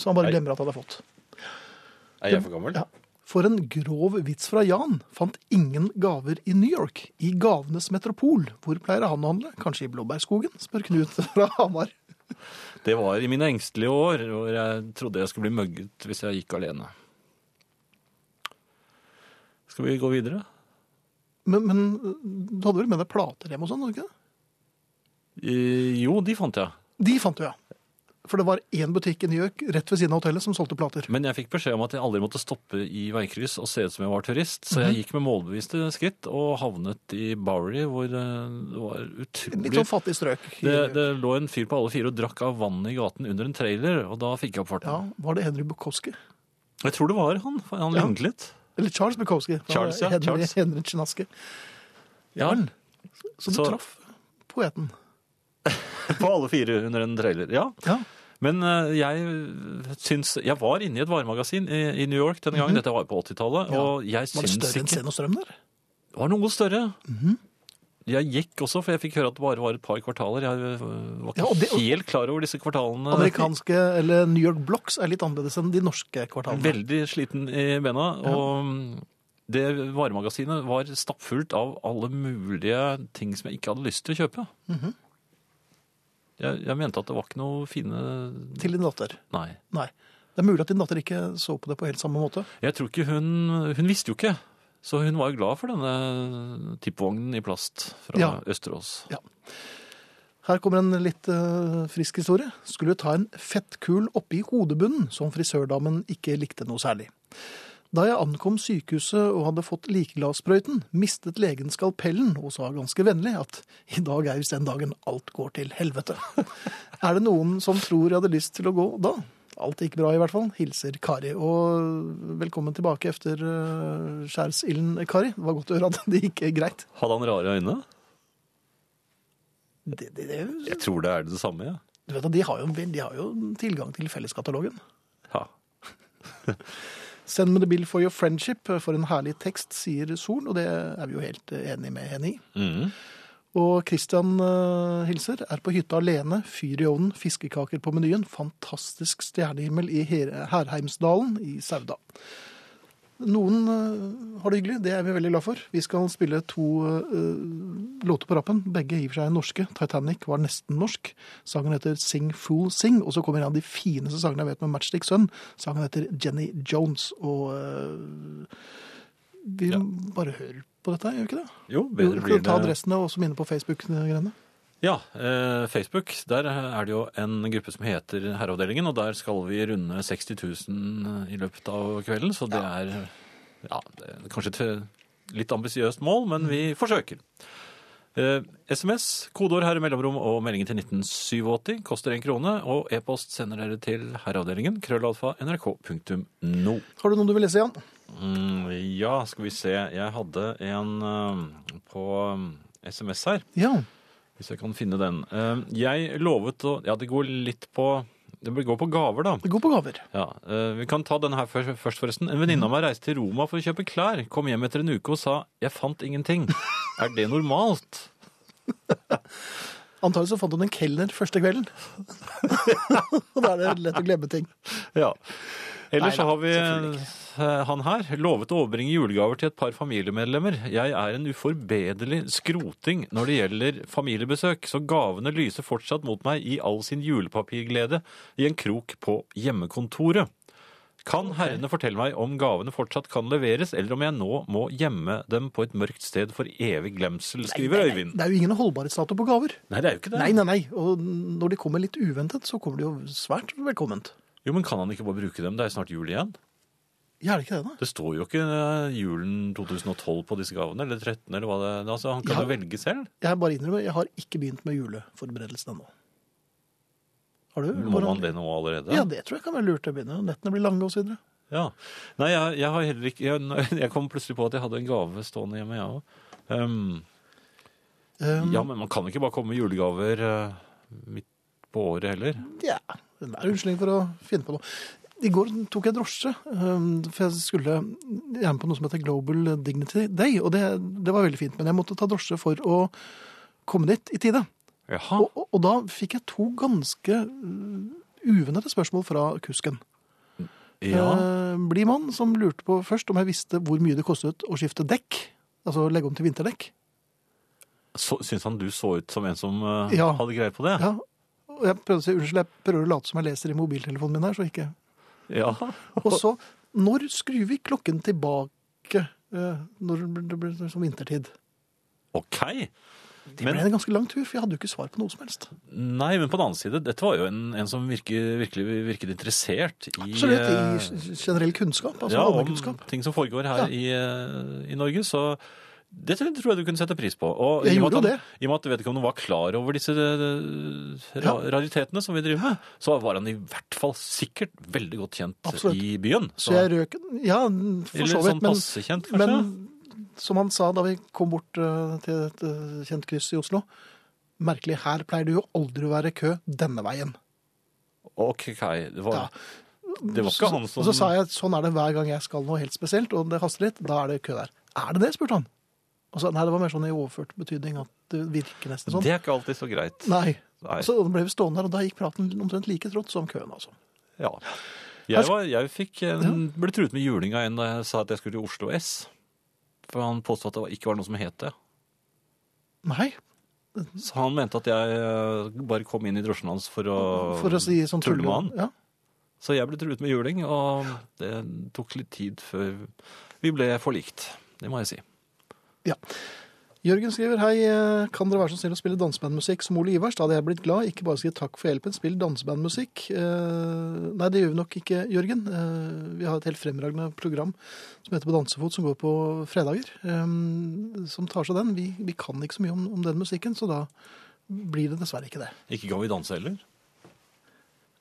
Speaker 1: Så han bare
Speaker 2: Nei.
Speaker 1: glemmer at han er flott.
Speaker 2: Er jeg for gammel?
Speaker 1: Ja. For en grov vits fra Jan. Fant ingen gaver i New York. I gavenes metropol. Hvor pleier han å handle? Kanskje i Blåbærskogen? spør Knut fra Hamar.
Speaker 2: Det var i mine engstelige år, hvor jeg trodde jeg skulle bli møgget hvis jeg gikk alene. Skal vi gå videre?
Speaker 1: Men, men du hadde vel med deg plater hjem og sånn? hadde du ikke det?
Speaker 2: Eh, Jo, de fant jeg.
Speaker 1: De fant du, ja. For det var én butikk i New York rett ved siden av hotellet som solgte plater.
Speaker 2: Men jeg fikk beskjed om at jeg aldri måtte stoppe i veikryss og se ut som jeg var turist, så jeg gikk med målbevisste skritt og havnet i Bowery, hvor eh, det var
Speaker 1: Litt
Speaker 2: utrolig
Speaker 1: sånn fattig strøk. i
Speaker 2: det,
Speaker 1: New York.
Speaker 2: det lå en fyr på alle fire og drakk av vannet i gaten under en trailer, og da fikk jeg
Speaker 1: Ja,
Speaker 2: opp farten.
Speaker 1: Var det Henry Bukowski?
Speaker 2: Jeg tror det var han, for han
Speaker 1: Ja.
Speaker 2: lignet litt.
Speaker 1: Eller Charles Bukowski. for
Speaker 2: Charles, ja,
Speaker 1: Henry,
Speaker 2: Charles.
Speaker 1: Henry Chinaske.
Speaker 2: Ja,
Speaker 1: Så du
Speaker 2: Så-
Speaker 1: traff poeten.
Speaker 2: på alle fire under en trailer, ja.
Speaker 1: Ja.
Speaker 2: Men eh, jeg syns Jeg var inne i et varemagasin i, i New York denne gangen. Dette var på 80-tallet.
Speaker 1: Mhm. Ja.
Speaker 2: Og jeg
Speaker 1: Var det
Speaker 2: syns
Speaker 1: større enn Mhm.
Speaker 2: ikke
Speaker 1: Sten og Strøm der?
Speaker 2: Det var noe større. Jeg gikk også, for jeg fikk høre at det bare var et par kvartaler. Jeg eh, var ikke
Speaker 1: Ja, og det-
Speaker 2: helt klar over disse kvartalene.
Speaker 1: Amerikanske eller New York Blocks er litt annerledes enn de norske kvartalene.
Speaker 2: Veldig sliten i bena. Og mm, det varemagasinet var stappfullt av alle mulige ting som jeg ikke hadde lyst til å kjøpe.
Speaker 1: Mhm.
Speaker 2: jeg, jeg mente at det var ikke noe fine
Speaker 1: Til din datter.
Speaker 2: Nei.
Speaker 1: Nei. Det er mulig at din datter ikke så på det på helt samme måte.
Speaker 2: Jeg tror ikke hun Hun visste jo ikke. Så hun var jo glad for denne tippvognen i plast fra
Speaker 1: Ja.
Speaker 2: Østerås.
Speaker 1: Her kommer en litt eh, frisk historie. Skulle ta en fettkul oppi hodebunnen, som frisørdamen ikke likte noe særlig. Da jeg ankom sykehuset og hadde fått likeglassprøyten, mistet legen skalpellen og sa ganske vennlig at i dag er visst den dagen alt går til helvete. er det noen som tror jeg hadde lyst til å gå da? Alt gikk bra i hvert fall. Hilser Kari. Og velkommen tilbake efter eh, skjærsilden, Kari. Det var godt å høre at det gikk greit.
Speaker 2: Hadde han rare øyne?
Speaker 1: Det, det, det,
Speaker 2: Jeg tror det er det samme, ja.
Speaker 1: Du vet at de har jo, de har jo tilgang til felleskatalogen.
Speaker 2: ja.
Speaker 1: Send me the bill for your friendship, for en herlig tekst, sier Solen, og det er vi jo helt eh, enig med henne i.
Speaker 2: Mhm.
Speaker 1: Og Christian eh, hilser, er på hytta alene, fyr i ovnen, fiskekaker på menyen, fantastisk stjernehimmel i Her Herheimsdalen i Sauda. Noen eh, har det hyggelig, det er vi veldig glad for. Vi skal spille to eh, låter på rappen, begge i og for seg norske. Titanic var nesten norsk. Sangen heter Sing Fool Sing, og så kommer en av de fineste sangene jeg vet med Matchstick Sun. Sangen heter Jenny Jones, og eh, vi bare hører på dette, gjør vi ikke det?
Speaker 2: Jo,
Speaker 1: Jo,
Speaker 2: bedre
Speaker 1: skal
Speaker 2: blir
Speaker 1: du ta
Speaker 2: det.
Speaker 1: adressene og også minne på Facebook-greiene?
Speaker 2: Ja, eh, Facebook. Der er det jo en gruppe som heter Herreavdelingen, og der skal vi runde 60 000 i løpet av kvelden, så det er ja, det er kanskje et eh, litt ambisiøst mål, men vi forsøker. Eh, SMS, kodeord her i mellomrom og meldingen til 1987 koster én krone. Og e-post sender dere til herreavdelingen, krøllalfa nrk.no.
Speaker 1: Har du noen du vil lese, Jan?
Speaker 2: Mm, ja, skal vi se. Jeg hadde en eh, på eh, SMS her.
Speaker 1: Ja.
Speaker 2: Hvis jeg kan finne den. Eh, Jeg lovet å Ja, det går litt på Det går på gaver, da.
Speaker 1: Det går på gaver.
Speaker 2: Ja, eh, Vi kan ta den her først, først forresten. En venninne av meg reiste til Roma for å kjøpe klær. Kom hjem etter en uke og sa 'jeg fant ingenting'. Er det normalt?
Speaker 1: Antagelig så fant hun en kelner første kvelden. Og da er det lett å glemme ting.
Speaker 2: Ja. Ellers så
Speaker 1: Neida,
Speaker 2: har vi
Speaker 1: selvfølgelig
Speaker 2: eh, han her. Lovet å overbringe julegaver til et par familiemedlemmer. Jeg er en uforbederlig skroting når det gjelder familiebesøk, så gavene lyser fortsatt mot meg i all sin julepapirglede i en krok på hjemmekontoret. Kan herrene fortelle meg om gavene fortsatt kan leveres, eller om jeg nå må gjemme dem på et mørkt sted for evig glemsel, skriver Øyvind.
Speaker 1: Det er jo ingen holdbarhetsdato på gaver.
Speaker 2: Nei, det er jo ikke det.
Speaker 1: Nei, nei, nei. Og når de kommer litt uventet, så kommer de jo svært velkomment.
Speaker 2: Jo, men kan han ikke bare bruke dem? Det er jo snart jul igjen.
Speaker 1: Ja, er det ikke det, da?
Speaker 2: Det står jo ikke eh, julen 2012 på disse gavene, eller 13, eller hva det er. Altså, han kan
Speaker 1: Ja.
Speaker 2: jo velge selv.
Speaker 1: Jeg bare innrømmer, jeg har ikke begynt med juleforberedelsen ennå. Har du?
Speaker 2: Må man det nå allerede?
Speaker 1: Ja, det tror jeg kan være lurt å begynne. Nettene blir lange og så videre.
Speaker 2: Ja. Nei, jeg, jeg har heller ikke jeg, jeg kom plutselig på at jeg hadde en gave stående hjemme, jeg òg. Um,
Speaker 1: Um,
Speaker 2: Ehm, Ja, men man kan ikke bare komme med julegaver eh, midt på året heller.
Speaker 1: Ja, det er unnskyldning for å finne på noe. I går tok jeg drosje, øhm, for jeg skulle gjerne på noe som heter Global Dignity Day, og det, det var veldig fint, men jeg måtte ta drosje for å komme dit i tide.
Speaker 2: Jaha.
Speaker 1: Og, og, og da fikk jeg to ganske øh, uvennete spørsmål fra kusken.
Speaker 2: Ja.
Speaker 1: Eh, Blid mann som lurte på først om jeg visste hvor mye det kostet å skifte dekk, altså legge om til vinterdekk.
Speaker 2: Så, syns han du så ut som en som eh,
Speaker 1: Ja.
Speaker 2: hadde greie på det?
Speaker 1: Ja, og jeg prøvde å si unnskyld, jeg prøver å late som jeg leser i mobiltelefonen min her, så ikke
Speaker 2: Ja.
Speaker 1: Og så, når skrur vi klokken tilbake eh, når det blir- det blir som vintertid?
Speaker 2: OK.
Speaker 1: Det
Speaker 2: Men-
Speaker 1: ble en ganske lang tur, for jeg hadde jo ikke svar på noe som helst.
Speaker 2: Nei, men på den annen side, dette var jo en, en som virke, virkelig virket interessert i,
Speaker 1: Absolutt,
Speaker 2: eh,
Speaker 1: i g- generell kunnskap, altså
Speaker 2: ja, om
Speaker 1: allmennkunnskap.
Speaker 2: ting som foregår her
Speaker 1: Ja.
Speaker 2: i, eh, i Norge. Så dette tror jeg du kunne sette pris på. Og
Speaker 1: Jeg
Speaker 2: i og med
Speaker 1: gjorde
Speaker 2: at
Speaker 1: jo
Speaker 2: han- I og med at vedkommende var klar over disse eh, ra
Speaker 1: Ja.
Speaker 2: raritetene som vi driver med, så var han i hvert fall sikkert veldig godt kjent
Speaker 1: Absolutt.
Speaker 2: i byen.
Speaker 1: Så jeg røk Ja, for
Speaker 2: eller
Speaker 1: så
Speaker 2: sånn
Speaker 1: vidt, men,
Speaker 2: passe kjent, kanskje.
Speaker 1: men som han sa da vi kom bort eh, til et eh, kjent kryss i Oslo Merkelig, her pleier det jo aldri å være kø denne veien.
Speaker 2: Ok, det var,
Speaker 1: Ja.
Speaker 2: det var
Speaker 1: Så-
Speaker 2: ikke han som
Speaker 1: Og så sa jeg sånn er det hver gang jeg skal noe helt spesielt, og det haster litt, da er det kø der. Er det det, spurte han. Og så, nei, det var mer sånn i overført betydning at det virker nesten sånn. altså-
Speaker 2: Det er ikke alltid så greit.
Speaker 1: Nei.
Speaker 2: Nei.
Speaker 1: Så ble vi stående her, og da gikk praten omtrent like trått som køen, altså.
Speaker 2: Ja. Jeg, var, jeg fikk en, ble truet med juling av en da jeg sa at jeg skulle til Oslo S. For han påstod at det ikke var noe som het det.
Speaker 1: Nei,
Speaker 2: Så han mente at jeg eh, bare kom inn i drosjen hans for å,
Speaker 1: for å si sånn
Speaker 2: tulle med han.
Speaker 1: Ja.
Speaker 2: Så jeg ble truet med juling, og det tok litt tid før vi ble forlikt. Det må jeg si.
Speaker 1: Jørgen skriver hei, eh, kan dere være så snill å spille dansebandmusikk som Ole Ivers? Da hadde jeg blitt glad. Ikke bare si takk for hjelpen, spill dansebandmusikk. Eh, nei, det gjør vi nok ikke, Jørgen. Eh, vi har et helt fremragende program som heter På dansefot, som går på fredager. eh, som tar seg den. Vi, vi kan ikke så mye om, om den musikken, så da blir det dessverre ikke det.
Speaker 2: Ikke kan vi danse heller.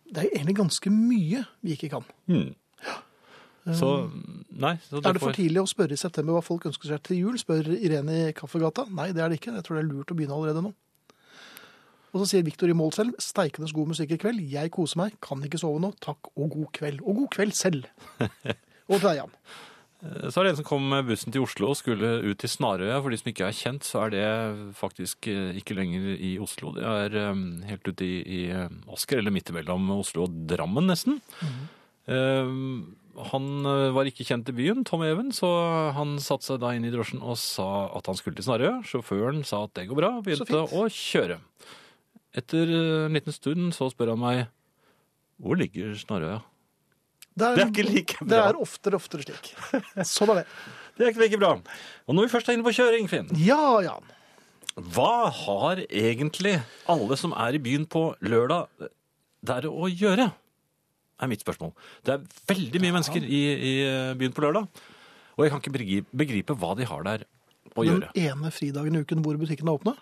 Speaker 1: Det er egentlig ganske mye vi ikke kan.
Speaker 2: Hmm. Så nei. Så
Speaker 1: Eh, Er det for tidlig å spørre i september hva folk ønsker seg til jul? Spør Irene i Kaffegata. Nei, det er det ikke. Jeg tror det er lurt å begynne allerede nå. Og så sier Viktor i Målselv steikende god musikk i kveld. Jeg koser meg, kan ikke sove nå. Takk og god kveld. Og god kveld selv. Og til deg, Jan.
Speaker 2: Eh, Så er det en som kom med bussen til Oslo og skulle ut til Snarøya. For de som ikke er kjent, så er det faktisk eh, ikke lenger i Oslo. Det er eh, helt ute i, i eh, Asker, eller midt imellom Oslo og Drammen, nesten. Eh, Han eh, var ikke kjent i byen, Tom Even, så han satte seg da inn i drosjen og sa at han skulle til Snarøya. Sjåføren sa at det går bra, og
Speaker 1: Så
Speaker 2: begynte
Speaker 1: fint.
Speaker 2: å kjøre. Etter eh, en liten stund så spør han meg hvor ligger Snarøya? Det er ikke like
Speaker 1: Det
Speaker 2: bra.
Speaker 1: er oftere oftere slik. Sånn er det.
Speaker 2: Det er ikke like bra. Og når vi først er inne på kjøring, Finn
Speaker 1: Ja, Jan.
Speaker 2: Hva har egentlig alle som er i byen på lørdag der å gjøre? er mitt spørsmål. Det er veldig mye mennesker i, i eh, byen på lørdag, og jeg kan ikke begripe, begripe hva de har der å
Speaker 1: Den
Speaker 2: gjøre.
Speaker 1: ene fridagen i uken hvor butikkene er åpne.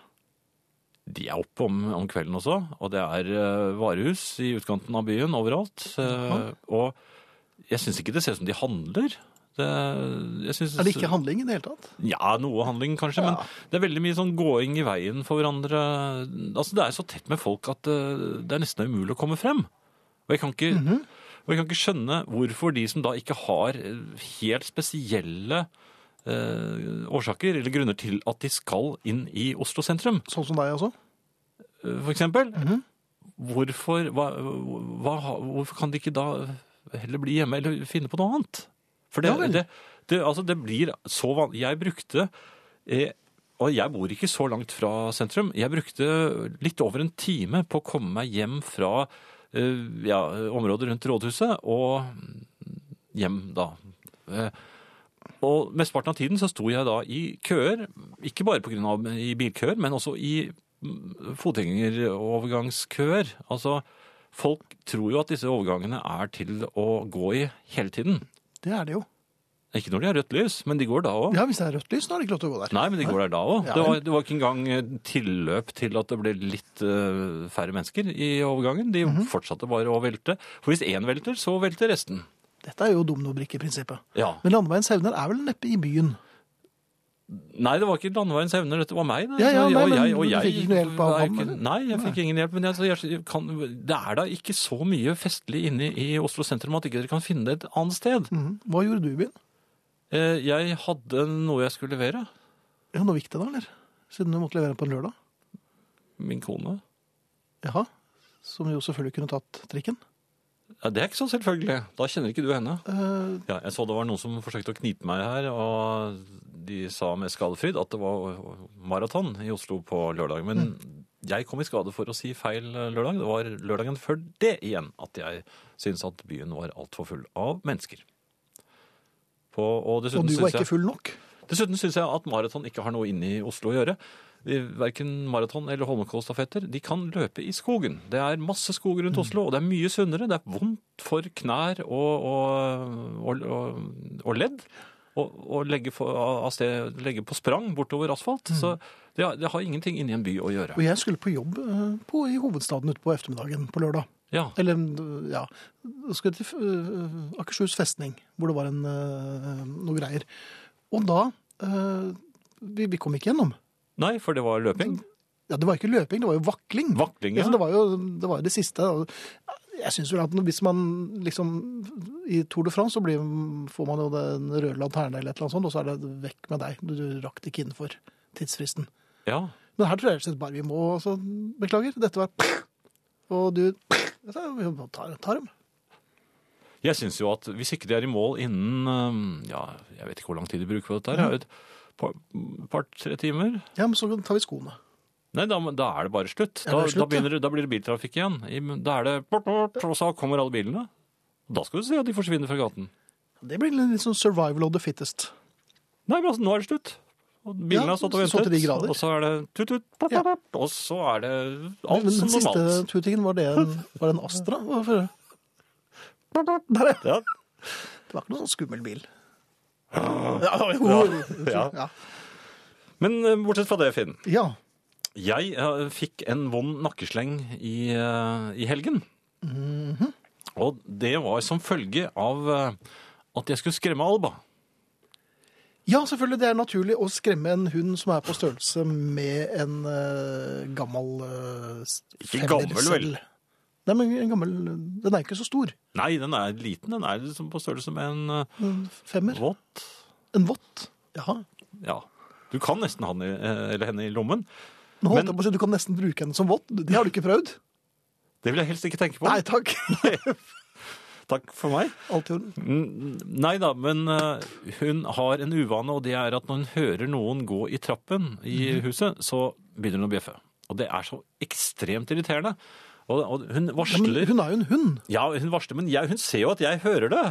Speaker 2: De er oppe om, om kvelden også, og det er eh, varehus i utkanten av byen overalt. eh, og jeg syns ikke det ser ut som de handler. Det, jeg synes-
Speaker 1: Er det ikke handling i det hele tatt?
Speaker 2: Ja, noe handling
Speaker 1: Ja.
Speaker 2: kanskje, men det er veldig mye sånn gåing i veien for hverandre. Altså, det er så tett med folk at eh, det er nesten umulig å komme frem. Og jeg kan ikke, og jeg kan ikke skjønne hvorfor de som da ikke har eh, helt spesielle eh, årsaker eller grunner til at de skal inn i Oslo sentrum,
Speaker 1: Sånn som deg, altså?
Speaker 2: eh, for eksempel.
Speaker 1: Mhm.
Speaker 2: Hvorfor, hva, hva, hvorfor kan de ikke da heller bli hjemme eller finne på noe annet? For det,
Speaker 1: Ja vel.
Speaker 2: det, det, altså det blir så vanlig. Jeg brukte eh, Og jeg bor ikke så langt fra sentrum. Jeg brukte litt over en time på å komme meg hjem fra eh, ja, området rundt rådhuset og hjem, da. Eh, og mesteparten av tiden så sto jeg da i køer, ikke bare på grunn av i bilkøer, men også i mm, fotgjengerovergangskøer. Altså, folk tror jo at disse overgangene er til å gå i hele tiden.
Speaker 1: Det er det jo.
Speaker 2: Ikke når de har rødt lys, men de går da òg.
Speaker 1: Ja, hvis det er rødt lys, da er det ikke lov til å gå der.
Speaker 2: Nei, men de går der da òg.
Speaker 1: Ja.
Speaker 2: Det, var- det var ikke engang eh, tilløp til at det ble litt eh, færre mennesker i overgangen. De
Speaker 1: Mhm.
Speaker 2: fortsatte bare å velte. For hvis én velter, så velter resten.
Speaker 1: Dette er jo dominobrikkeprinsippet.
Speaker 2: Ja.
Speaker 1: Men landeveiens hevner er vel neppe i byen?
Speaker 2: Nei, det var ikke landeveiens evner, dette var meg. Det.
Speaker 1: Ja, ja,
Speaker 2: Så jeg-
Speaker 1: nei,
Speaker 2: og
Speaker 1: men
Speaker 2: jeg, og
Speaker 1: du
Speaker 2: jeg,
Speaker 1: fikk ikke noe hjelp av
Speaker 2: var
Speaker 1: ham,
Speaker 2: ikke-
Speaker 1: men-
Speaker 2: Nei, jeg fikk ingen hjelp, men jeg, så jeg kan, det er da ikke så mye festlig inne i Oslo sentrum at ikke dere kan finne det et annet sted.
Speaker 1: Mhm. Hva gjorde du i byen?
Speaker 2: Eh, Jeg hadde noe jeg skulle levere.
Speaker 1: Ja, noe viktig da, eller? Siden du måtte levere på en lørdag.
Speaker 2: Min kone.
Speaker 1: Jaha. Som jo selvfølgelig kunne tatt trikken.
Speaker 2: Ja, det er ikke så selvfølgelig. Da kjenner ikke du henne.
Speaker 1: Eh,
Speaker 2: Ja, jeg så det var noen som forsøkte å knipe meg her, og de sa med skadefryd at det var maraton i Oslo på lørdag.
Speaker 1: Mm.
Speaker 2: Men jeg kom i skade for å si feil eh, lørdag. Det var lørdagen før det igjen at jeg syntes at byen var altfor full av mennesker. På, og dessuten
Speaker 1: og du var
Speaker 2: syns jeg-
Speaker 1: ikke full nok?
Speaker 2: Dessuten syns jeg at maraton ikke har noe inne i Oslo å gjøre. Verken maraton eller Holmenkollstafetter. De kan løpe i skogen. Det er masse skog
Speaker 1: Mm.
Speaker 2: rundt Oslo, og det er mye sunnere. Det er vondt for knær og, og, og, og, og ledd å å legge, for- av sted, legge på sprang bortover asfalt. Så det, har- det har ingenting inni en by å gjøre.
Speaker 1: Mm. Og jeg skulle på jobb eh, på, i hovedstaden ute på eftermiddagen på lørdag.
Speaker 2: Ja,
Speaker 1: Eller, eh, ja Jeg Skulle til eh, Akershus festning, hvor det var en, eh, noe greier. Og da eh, vi, vi kom ikke gjennom.
Speaker 2: Nei, for det var løping.
Speaker 1: Ja, Det var ikke løping, det var jo vakling.
Speaker 2: Vakling,
Speaker 1: Ja,
Speaker 2: ja.
Speaker 1: så det var jo det, var jo det siste. og Jeg syns vel at hvis man liksom I Tour de France så blir, får man jo den røde lanterne eller et eller annet sånt, og så er det vekk med deg. Du, du rakk det ikke innenfor tidsfristen.
Speaker 2: Ja.
Speaker 1: Men her tror jeg rett og slett bare vi må altså, Beklager, dette var Og du så Vi må ta, ta dem.
Speaker 2: Jeg syns jo at hvis ikke de er i mål innen øhm, Ja, jeg vet ikke hvor lang tid de bruker på dette her. Et par- par-tre timer.
Speaker 1: Ja, men så tar vi skoene.
Speaker 2: Nei, da, da er det bare slutt.
Speaker 1: Ja,
Speaker 2: Da,
Speaker 1: det er slutt,
Speaker 2: da, begynner, det- da blir det biltrafikk igjen. I- Da er det port, port, og så kommer alle bilene. Da skal du se at de forsvinner fra gaten.
Speaker 1: Det blir litt sånn survival of the fittest.
Speaker 2: Nei, men altså, nå er det slutt. Og bilene
Speaker 1: Ja,
Speaker 2: har stått og
Speaker 1: så til de
Speaker 2: ventet,
Speaker 1: grader.
Speaker 2: og så er det tut, tut, port,
Speaker 1: Ja.
Speaker 2: port, og så er det alt
Speaker 1: Men
Speaker 2: som
Speaker 1: den siste
Speaker 2: normalt.
Speaker 1: tutingen, var det en, var det en Astra? Hvorfor? Der, ja.
Speaker 2: Ja.
Speaker 1: Det var ikke noen sånn skummel bil. Ja, jo, ja.
Speaker 2: Ja. Men eh, bortsett fra det, Finn.
Speaker 1: ja.
Speaker 2: Jeg eh, fikk en vond nakkesleng i, eh, i helgen.
Speaker 1: Mhm.
Speaker 2: Og det var som følge av eh, at jeg skulle skremme Alba.
Speaker 1: Ja, selvfølgelig. Det er naturlig å skremme en hund som er på størrelse med en eh, gammel eh, s-
Speaker 2: Ikke gammel,
Speaker 1: femmercell.
Speaker 2: vel?
Speaker 1: Nei, men en gammel Den er jo ikke så stor.
Speaker 2: Nei, den er liten. Den er liksom på størrelse med en eh,
Speaker 1: En femmer.
Speaker 2: Vått?
Speaker 1: En vått. Jaha.
Speaker 2: Ja. Du kan nesten han i, eh, eller henne i lommen.
Speaker 1: Nå holdt
Speaker 2: Men-
Speaker 1: jeg på å si du kan nesten bruke henne som vått. Det har du ikke prøvd?
Speaker 2: Det vil jeg helst ikke tenke på.
Speaker 1: Nei takk.
Speaker 2: Takk for meg.
Speaker 1: Alt i orden.
Speaker 2: Mm, Nei da, men eh, hun har en uvane, og det er at når hun hører noen gå i trappen i
Speaker 1: Mhm.
Speaker 2: huset, så begynner hun å bjeffe. Og det er så ekstremt irriterende. Og, og hun
Speaker 1: Ja, men
Speaker 2: varsler
Speaker 1: hun er jo en hund.
Speaker 2: Ja, hun varsler, men jeg, hun ser jo at jeg hører det.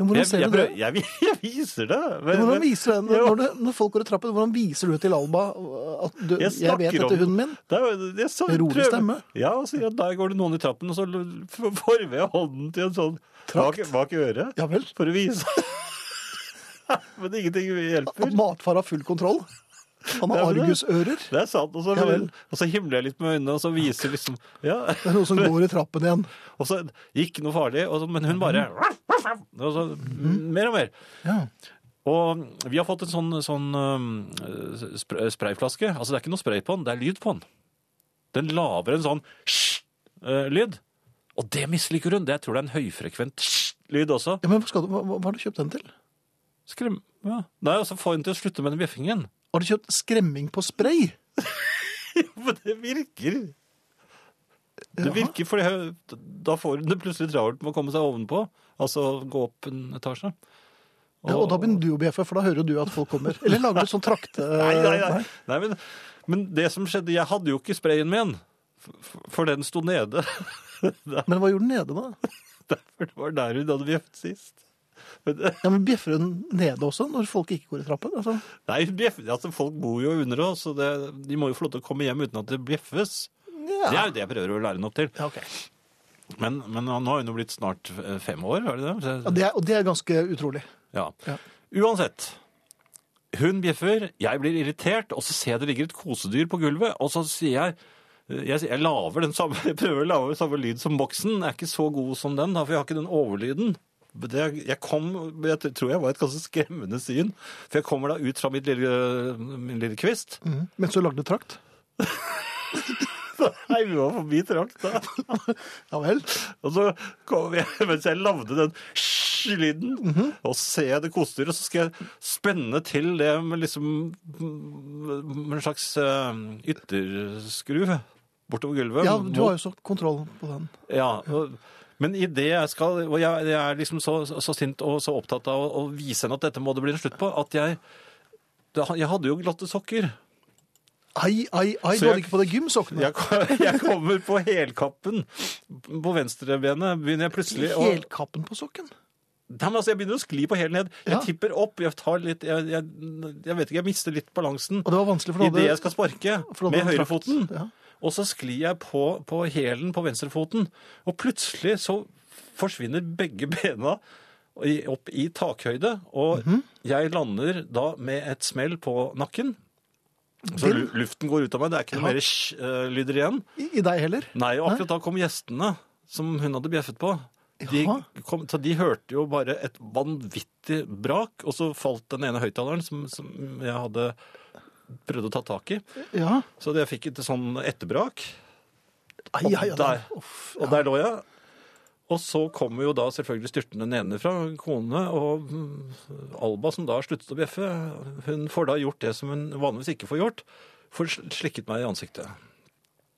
Speaker 1: Men hvordan
Speaker 2: Jeg,
Speaker 1: ser
Speaker 2: jeg,
Speaker 1: du det?
Speaker 2: prøver- jeg, jeg viser det. Men-
Speaker 1: Hvordan
Speaker 2: men-
Speaker 1: viser du det?
Speaker 2: Jo.
Speaker 1: Når, du, når folk går i trappen, hvordan viser du til Alba eh, at du, jeg, vet
Speaker 2: snakker
Speaker 1: dette
Speaker 2: om-
Speaker 1: er hunden min?
Speaker 2: Det er, jo- jeg så,
Speaker 1: Rolig
Speaker 2: prøver-
Speaker 1: stemme.
Speaker 2: Ja, og sier at der går det noen i trappen, og så l- f- former jeg hånden til en sånn bak,
Speaker 1: Trakt.
Speaker 2: bak øret.
Speaker 1: Ja vel.
Speaker 2: For å vise. Men ingenting
Speaker 1: At
Speaker 2: hjelper.
Speaker 1: matfar har full kontroll? Han har
Speaker 2: Ja, men det-
Speaker 1: argusører.
Speaker 2: Det er sant. Og så,
Speaker 1: Ja vel.
Speaker 2: og så himler jeg litt med øynene, og så viser liksom Ja.
Speaker 1: Det er noen som går i trappen igjen.
Speaker 2: Og så ikke noe farlig, og så, men hun bare og så, Mer og mer.
Speaker 1: Ja.
Speaker 2: Og vi har fått en sånn, sånn øhm, øh, spr- sprayflaske. Altså, det er ikke noe spray på den, det er lyd på den. Den lager en sånn sj-lyd. Og det misliker hun. Det jeg tror det er en høyfrekvent sj-lyd også.
Speaker 1: ja, men hva, skal du, hva, hva har du kjøpt den til?
Speaker 2: Skrem... Ja. Nei, og så får hun til å slutte med den bjeffingen.
Speaker 1: Har du kjøpt skremming på spray?
Speaker 2: Men det virker. Det
Speaker 1: Jaha.
Speaker 2: virker, for det- da får hun det plutselig travelt med å komme seg ovenpå. Altså gå opp en etasje.
Speaker 1: Ja, og da begynner du å bjeffe, for da hører du at folk kommer. Eller lager du sånn trakte...
Speaker 2: Nei, nei, nei. Eh, nei men, men det som skjedde, jeg hadde jo ikke sprayen min, f- for den sto nede.
Speaker 1: Men hva gjorde den nede, da?
Speaker 2: Derfor det var der hun hadde bjeffet sist. Men, det-
Speaker 1: Ja, men Bjeffer hun nede også, når folk ikke går i trappen? Altså.
Speaker 2: nei, hun bjeffet, altså folk bor jo under oss, så det, de må jo få lov til å komme hjem uten at det bjeffes. Det er jo det jeg prøver å lære henne opp til.
Speaker 1: Ja, ok.
Speaker 2: Men, men nå har hun jo blitt snart eh, fem år, er det det?
Speaker 1: Ja, det er, og det er ganske utrolig.
Speaker 2: Ja.
Speaker 1: Ja.
Speaker 2: Uansett. Hun bjeffer, jeg blir irritert, og så ser jeg det ligger et kosedyr på gulvet, og så sier jeg eh, jeg, jeg, laver den samme, jeg prøver å lage samme lyd som boksen. Jeg er ikke så god som den, da, for jeg har ikke den overlyden. det, jeg kom, jeg tror jeg var et ganske skremmende syn, for jeg kommer da ut fra mitt lille, min lille kvist.
Speaker 1: Mm. Mens du lagde trakt?
Speaker 2: Nei, vi var forbi trakt da.
Speaker 1: Ja vel.
Speaker 2: Og så kom jeg, mens jeg lavde den lyden og ser jeg det kostyret, og så skal jeg spenne til det med liksom med en slags eh, ytterskruv bortover gulvet.
Speaker 1: Ja, du
Speaker 2: mot-
Speaker 1: har jo så kontroll på den.
Speaker 2: Ja, og, men i det jeg skal Og jeg, jeg er liksom så, så sint og så opptatt av å, å vise henne at dette må det bli en slutt på, at jeg da, Jeg hadde jo glatte sokker.
Speaker 1: Ai, ai, ai, du
Speaker 2: Så
Speaker 1: hadde
Speaker 2: jeg-
Speaker 1: ikke på deg gymsokkene.
Speaker 2: Jeg, ko- jeg kommer på helkappen. På venstrebenet begynner jeg plutselig å Nei,
Speaker 1: Helkappen på sokken?
Speaker 2: men altså, Jeg begynner å skli på hælen ned. Jeg
Speaker 1: Ja.
Speaker 2: tipper opp. Jeg tar litt jeg, jeg, jeg vet ikke, jeg mister litt balansen
Speaker 1: Og det var vanskelig for du
Speaker 2: idet
Speaker 1: hadde-
Speaker 2: jeg skal sparke
Speaker 1: for du hadde
Speaker 2: med
Speaker 1: en trakt.
Speaker 2: høyrefoten.
Speaker 1: Ja.
Speaker 2: Og så sklir jeg på, på hælen på venstrefoten, og plutselig så forsvinner begge bena i- opp i takhøyde, og
Speaker 1: Mhm.
Speaker 2: jeg lander da med et smell på nakken. Så lu- luften går ut av meg, det er ikke noe mer sj-lyder igjen.
Speaker 1: I, I deg heller?
Speaker 2: Nei, og akkurat da kom gjestene som hun hadde bjeffet på. De,
Speaker 1: Jaha.
Speaker 2: kom, så de hørte jo bare et vanvittig brak, og så falt den ene høyttaleren som, som jeg hadde prøvd å ta tak i.
Speaker 1: Ja.
Speaker 2: Så jeg fikk et sånn etterbrak.
Speaker 1: Ai,
Speaker 2: Og
Speaker 1: ai, ai.
Speaker 2: der.
Speaker 1: Uff,
Speaker 2: Og der lå jeg. Og så kommer jo da selvfølgelig styrtende nedenfra konene, og mm, Alba, som da har sluttet å bjeffe, hun får da gjort det som hun vanligvis ikke får gjort, får sl- slikket meg i ansiktet.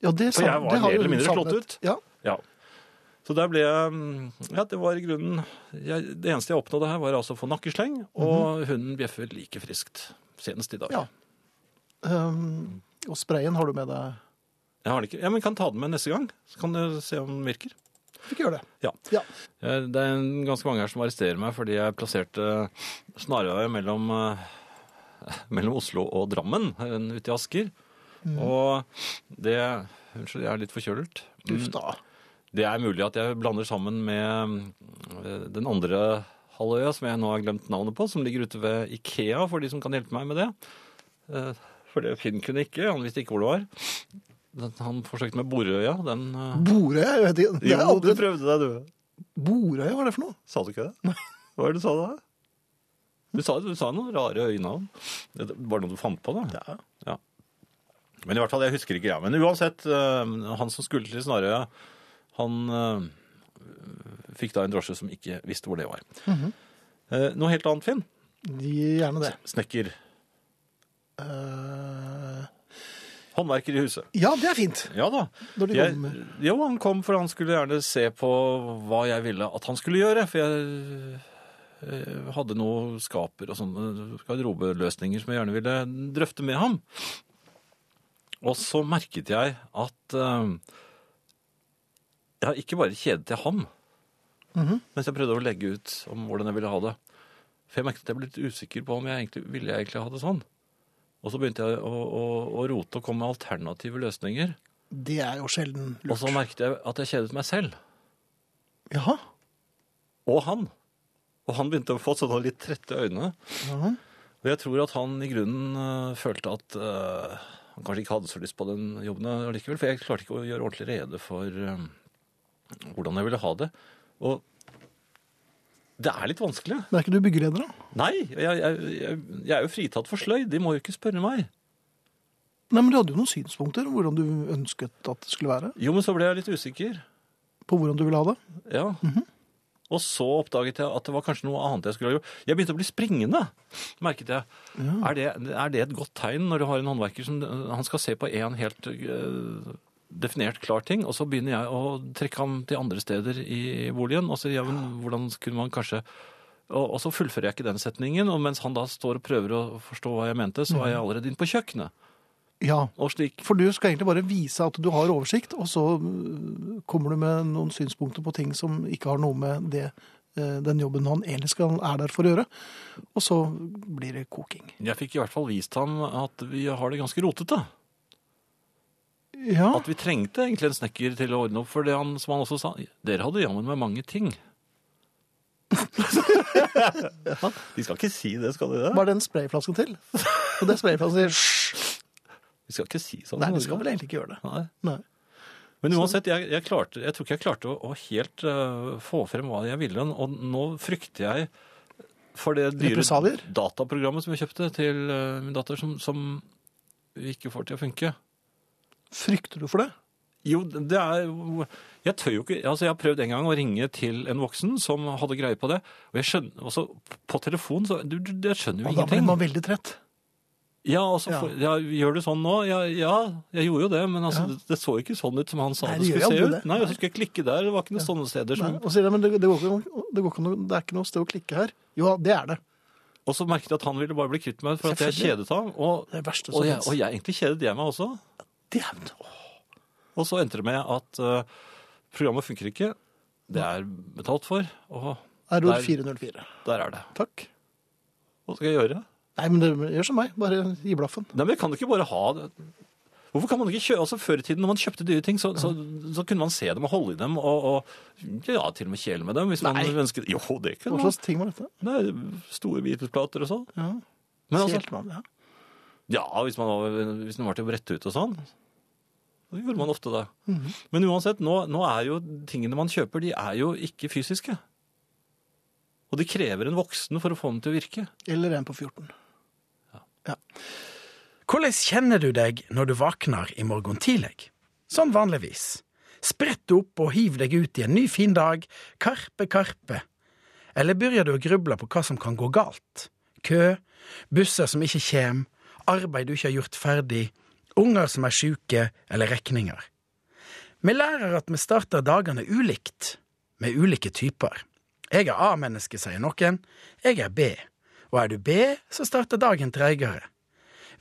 Speaker 1: Ja, det,
Speaker 2: For
Speaker 1: sa-
Speaker 2: jeg var
Speaker 1: det har
Speaker 2: mer
Speaker 1: jo
Speaker 2: eller
Speaker 1: hun
Speaker 2: mindre slått
Speaker 1: savnet.
Speaker 2: ut.
Speaker 1: Ja.
Speaker 2: Ja. Så der ble jeg mm, Ja, det var i grunnen jeg, Det eneste jeg oppnådde her, var altså å få nakkesleng, og hunden bjeffer like friskt. Senest i dag.
Speaker 1: Ja. Um, og sprayen har du med deg.
Speaker 2: Jeg har den ikke. Ja, men kan ta den med neste gang, så kan du se om den virker.
Speaker 1: Du fikk gjøre det.
Speaker 2: Ja.
Speaker 1: Ja.
Speaker 2: Eh, Det er en- ganske mange her som arresterer meg fordi jeg plasserte snarveiet mellom, eh, mellom Oslo og Drammen eh, ute i Asker. Mm. Og det Unnskyld, jeg er litt forkjølet.
Speaker 1: Uff da.
Speaker 2: Det er mulig at jeg blander sammen med eh, den andre halvøya, som jeg nå har glemt navnet på, som ligger ute ved Ikea, for de som kan hjelpe meg med det. Eh, For det Finn kunne ikke, han visste ikke hvor det var. Den- Han forsøkte med Borøya. Den eh,
Speaker 1: Borøy? Jeg vet ikke. Det er
Speaker 2: Jo, du
Speaker 1: aldri...
Speaker 2: prøvde deg, du.
Speaker 1: Borøy, hva er det for noe?
Speaker 2: Sa du ikke det? Hva var det du sa da? Du sa, du sa noen rare øyenavn. Det var noe du fant på, da? Ja. Men i hvert fall, jeg husker ikke greia. Men uansett, øh, han som skulle til Snarøya, han øh, fikk da en drosje som ikke visste hvor det var. Eh, Noe helt annet, Finn.
Speaker 1: Gjerne det.
Speaker 2: Snekker.
Speaker 1: Eh,
Speaker 2: Håndverker i huset.
Speaker 1: ja, det er fint.
Speaker 2: Ja da.
Speaker 1: Når de
Speaker 2: Jeg,
Speaker 1: kommer.
Speaker 2: jo, han kom, for han skulle gjerne se på hva jeg ville at han skulle gjøre. For jeg eh, hadde noe skaper og sånne garderobeløsninger som jeg gjerne ville drøfte med ham. Og så merket jeg at eh, jeg ikke bare kjedet til ham,
Speaker 1: Mhm.
Speaker 2: mens jeg prøvde å legge ut om hvordan jeg ville ha det. For jeg merket at jeg ble litt usikker på om jeg egentlig ville jeg egentlig ha det sånn. Og så begynte jeg å, å, å rote og komme med alternative løsninger.
Speaker 1: Det er jo sjelden
Speaker 2: Og så
Speaker 1: lurt.
Speaker 2: merket jeg at jeg kjedet meg selv.
Speaker 1: Jaha.
Speaker 2: Og han. Og han begynte å få sånne litt trette øyne.
Speaker 1: Ja.
Speaker 2: Og jeg tror at han i grunnen øh, følte at øh, han kanskje ikke hadde så lyst på den jobben allikevel. For jeg klarte ikke å gjøre ordentlig rede for øh, hvordan jeg ville ha det. Og det er litt vanskelig.
Speaker 1: Men er ikke du byggeleder, da?
Speaker 2: Nei, jeg, jeg, jeg, jeg er jo fritatt for sløyd. De må jo ikke spørre meg.
Speaker 1: Nei, men Du hadde jo noen synspunkter om hvordan du ønsket at det skulle være.
Speaker 2: Jo, men så ble jeg litt usikker.
Speaker 1: På hvordan du ville ha det.
Speaker 2: Ja. Og så oppdaget jeg at det var kanskje noe annet jeg skulle ha gjort. Jeg begynte å bli springende, merket jeg. Er, det, er det et godt tegn når du har en håndverker som øh, han skal se på én helt øh, definert klar ting, og så begynner jeg å trekke ham til andre steder i boligen, og så ja, men hvordan skulle man kanskje og, og så fullfører jeg ikke den setningen, og mens han da står og prøver å forstå hva jeg mente, så er jeg allerede inne på kjøkkenet.
Speaker 1: Ja,
Speaker 2: Og slik
Speaker 1: For du skal egentlig bare vise at du har oversikt, og så øh, kommer du med noen synspunkter på ting som ikke har noe med det, øh, den jobben han egentlig skal, er der for å gjøre. Og så blir det koking.
Speaker 2: Jeg fikk i hvert fall vist ham at vi har det ganske rotete.
Speaker 1: Ja,
Speaker 2: at vi trengte egentlig en snekker til å ordne opp for det han, som han også sa. Dere hadde jammen med mange ting. De skal ikke si det, skal de det?
Speaker 1: Hva er den sprayflasken til? Og den sprayflasken sier «Hysj!»
Speaker 2: De skal ikke si sånn.
Speaker 1: Nei, det skal vel egentlig ikke gjøre det.
Speaker 2: Nei.
Speaker 1: Nei.
Speaker 2: Men uansett, jeg, jeg, klarte, jeg tror ikke jeg klarte å, å helt eh, få frem hva jeg ville. Og nå frykter jeg for det dyre
Speaker 1: Represalier?
Speaker 2: dataprogrammet som jeg kjøpte til eh, min datter, som, som vi ikke får til å funke.
Speaker 1: Frykter du for det?
Speaker 2: Jo, det er jo Jeg tør jo ikke Altså, jeg har prøvd en gang å ringe til en voksen som hadde greie på det, og jeg skjønner også På telefon, så du, du, Jeg skjønner jo
Speaker 1: Og da blir
Speaker 2: ingenting.
Speaker 1: man veldig trett.
Speaker 2: Ja, altså,
Speaker 1: Ja.
Speaker 2: For, ja, gjør du sånn nå? Ja, ja, jeg gjorde jo det, men altså, det, det så ikke sånn ut som han
Speaker 1: Nei,
Speaker 2: sa det
Speaker 1: det
Speaker 2: skulle
Speaker 1: gjør jo
Speaker 2: se ut.
Speaker 1: aldri det.
Speaker 2: Nei, og så skulle jeg klikke der, det var ikke noen sånne steder som
Speaker 1: Nei, Og sier jeg, men det, det, går ikke, noe- det, går ikke noe, det er ikke noe sted å klikke her. Jo, det er det.
Speaker 2: Og så merket jeg at han ville bare bli kvitt meg for at jeg
Speaker 1: Selvfølgelig.
Speaker 2: kjedet ham. Og,
Speaker 1: Det er det verste som
Speaker 2: og, jeg,
Speaker 1: finnes.
Speaker 2: og jeg egentlig kjedet jeg meg også.
Speaker 1: Djevn. Åh,
Speaker 2: Og så endte det med at eh, programmet funker ikke. Det er betalt for, og
Speaker 1: Error
Speaker 2: Der-
Speaker 1: 404.
Speaker 2: der er det.
Speaker 1: Takk.
Speaker 2: Hva skal jeg gjøre?
Speaker 1: Nei, men det, gjør som meg. Bare gi blaffen.
Speaker 2: Nei, men jeg kan jo ikke bare ha det. Hvorfor kan man ikke kjøpe, altså Før i tiden når man kjøpte dyre ting, så, så, så kunne man se dem og holde i dem og, og ja, til og med kjele med dem. hvis man
Speaker 1: Nei.
Speaker 2: ønsket. Jo, det
Speaker 1: Hva
Speaker 2: kunne man.
Speaker 1: slags ting var dette?
Speaker 2: Nei, store Beatles-plater og sånn.
Speaker 1: Ja,
Speaker 2: Men altså,
Speaker 1: Kjelte man, ja.
Speaker 2: ja, hvis man, var, hvis man var til å brette ut og sånn. Så gjorde man ofte det.
Speaker 1: Mhm.
Speaker 2: Men uansett, nå, nå er jo tingene man kjøper, de er jo ikke fysiske. Og de krever en voksen for å få dem til å virke.
Speaker 1: Eller en på 14.
Speaker 6: Hvordan kjenner du deg når du våkner i morgen tidlig? Sånn vanligvis. Sprett opp og hiv deg ut i en ny fin dag, karpe, karpe. Eller begynner du å gruble på hva som kan gå galt? Kø, busser som ikke kjem, arbeid du ikke har gjort ferdig, unger som er sjuke, eller regninger. Vi lærer at vi starter dagene ulikt, med ulike typer. Jeg er A-menneske, sier noen. Jeg er B. Og er du B, så starter dagen treigere.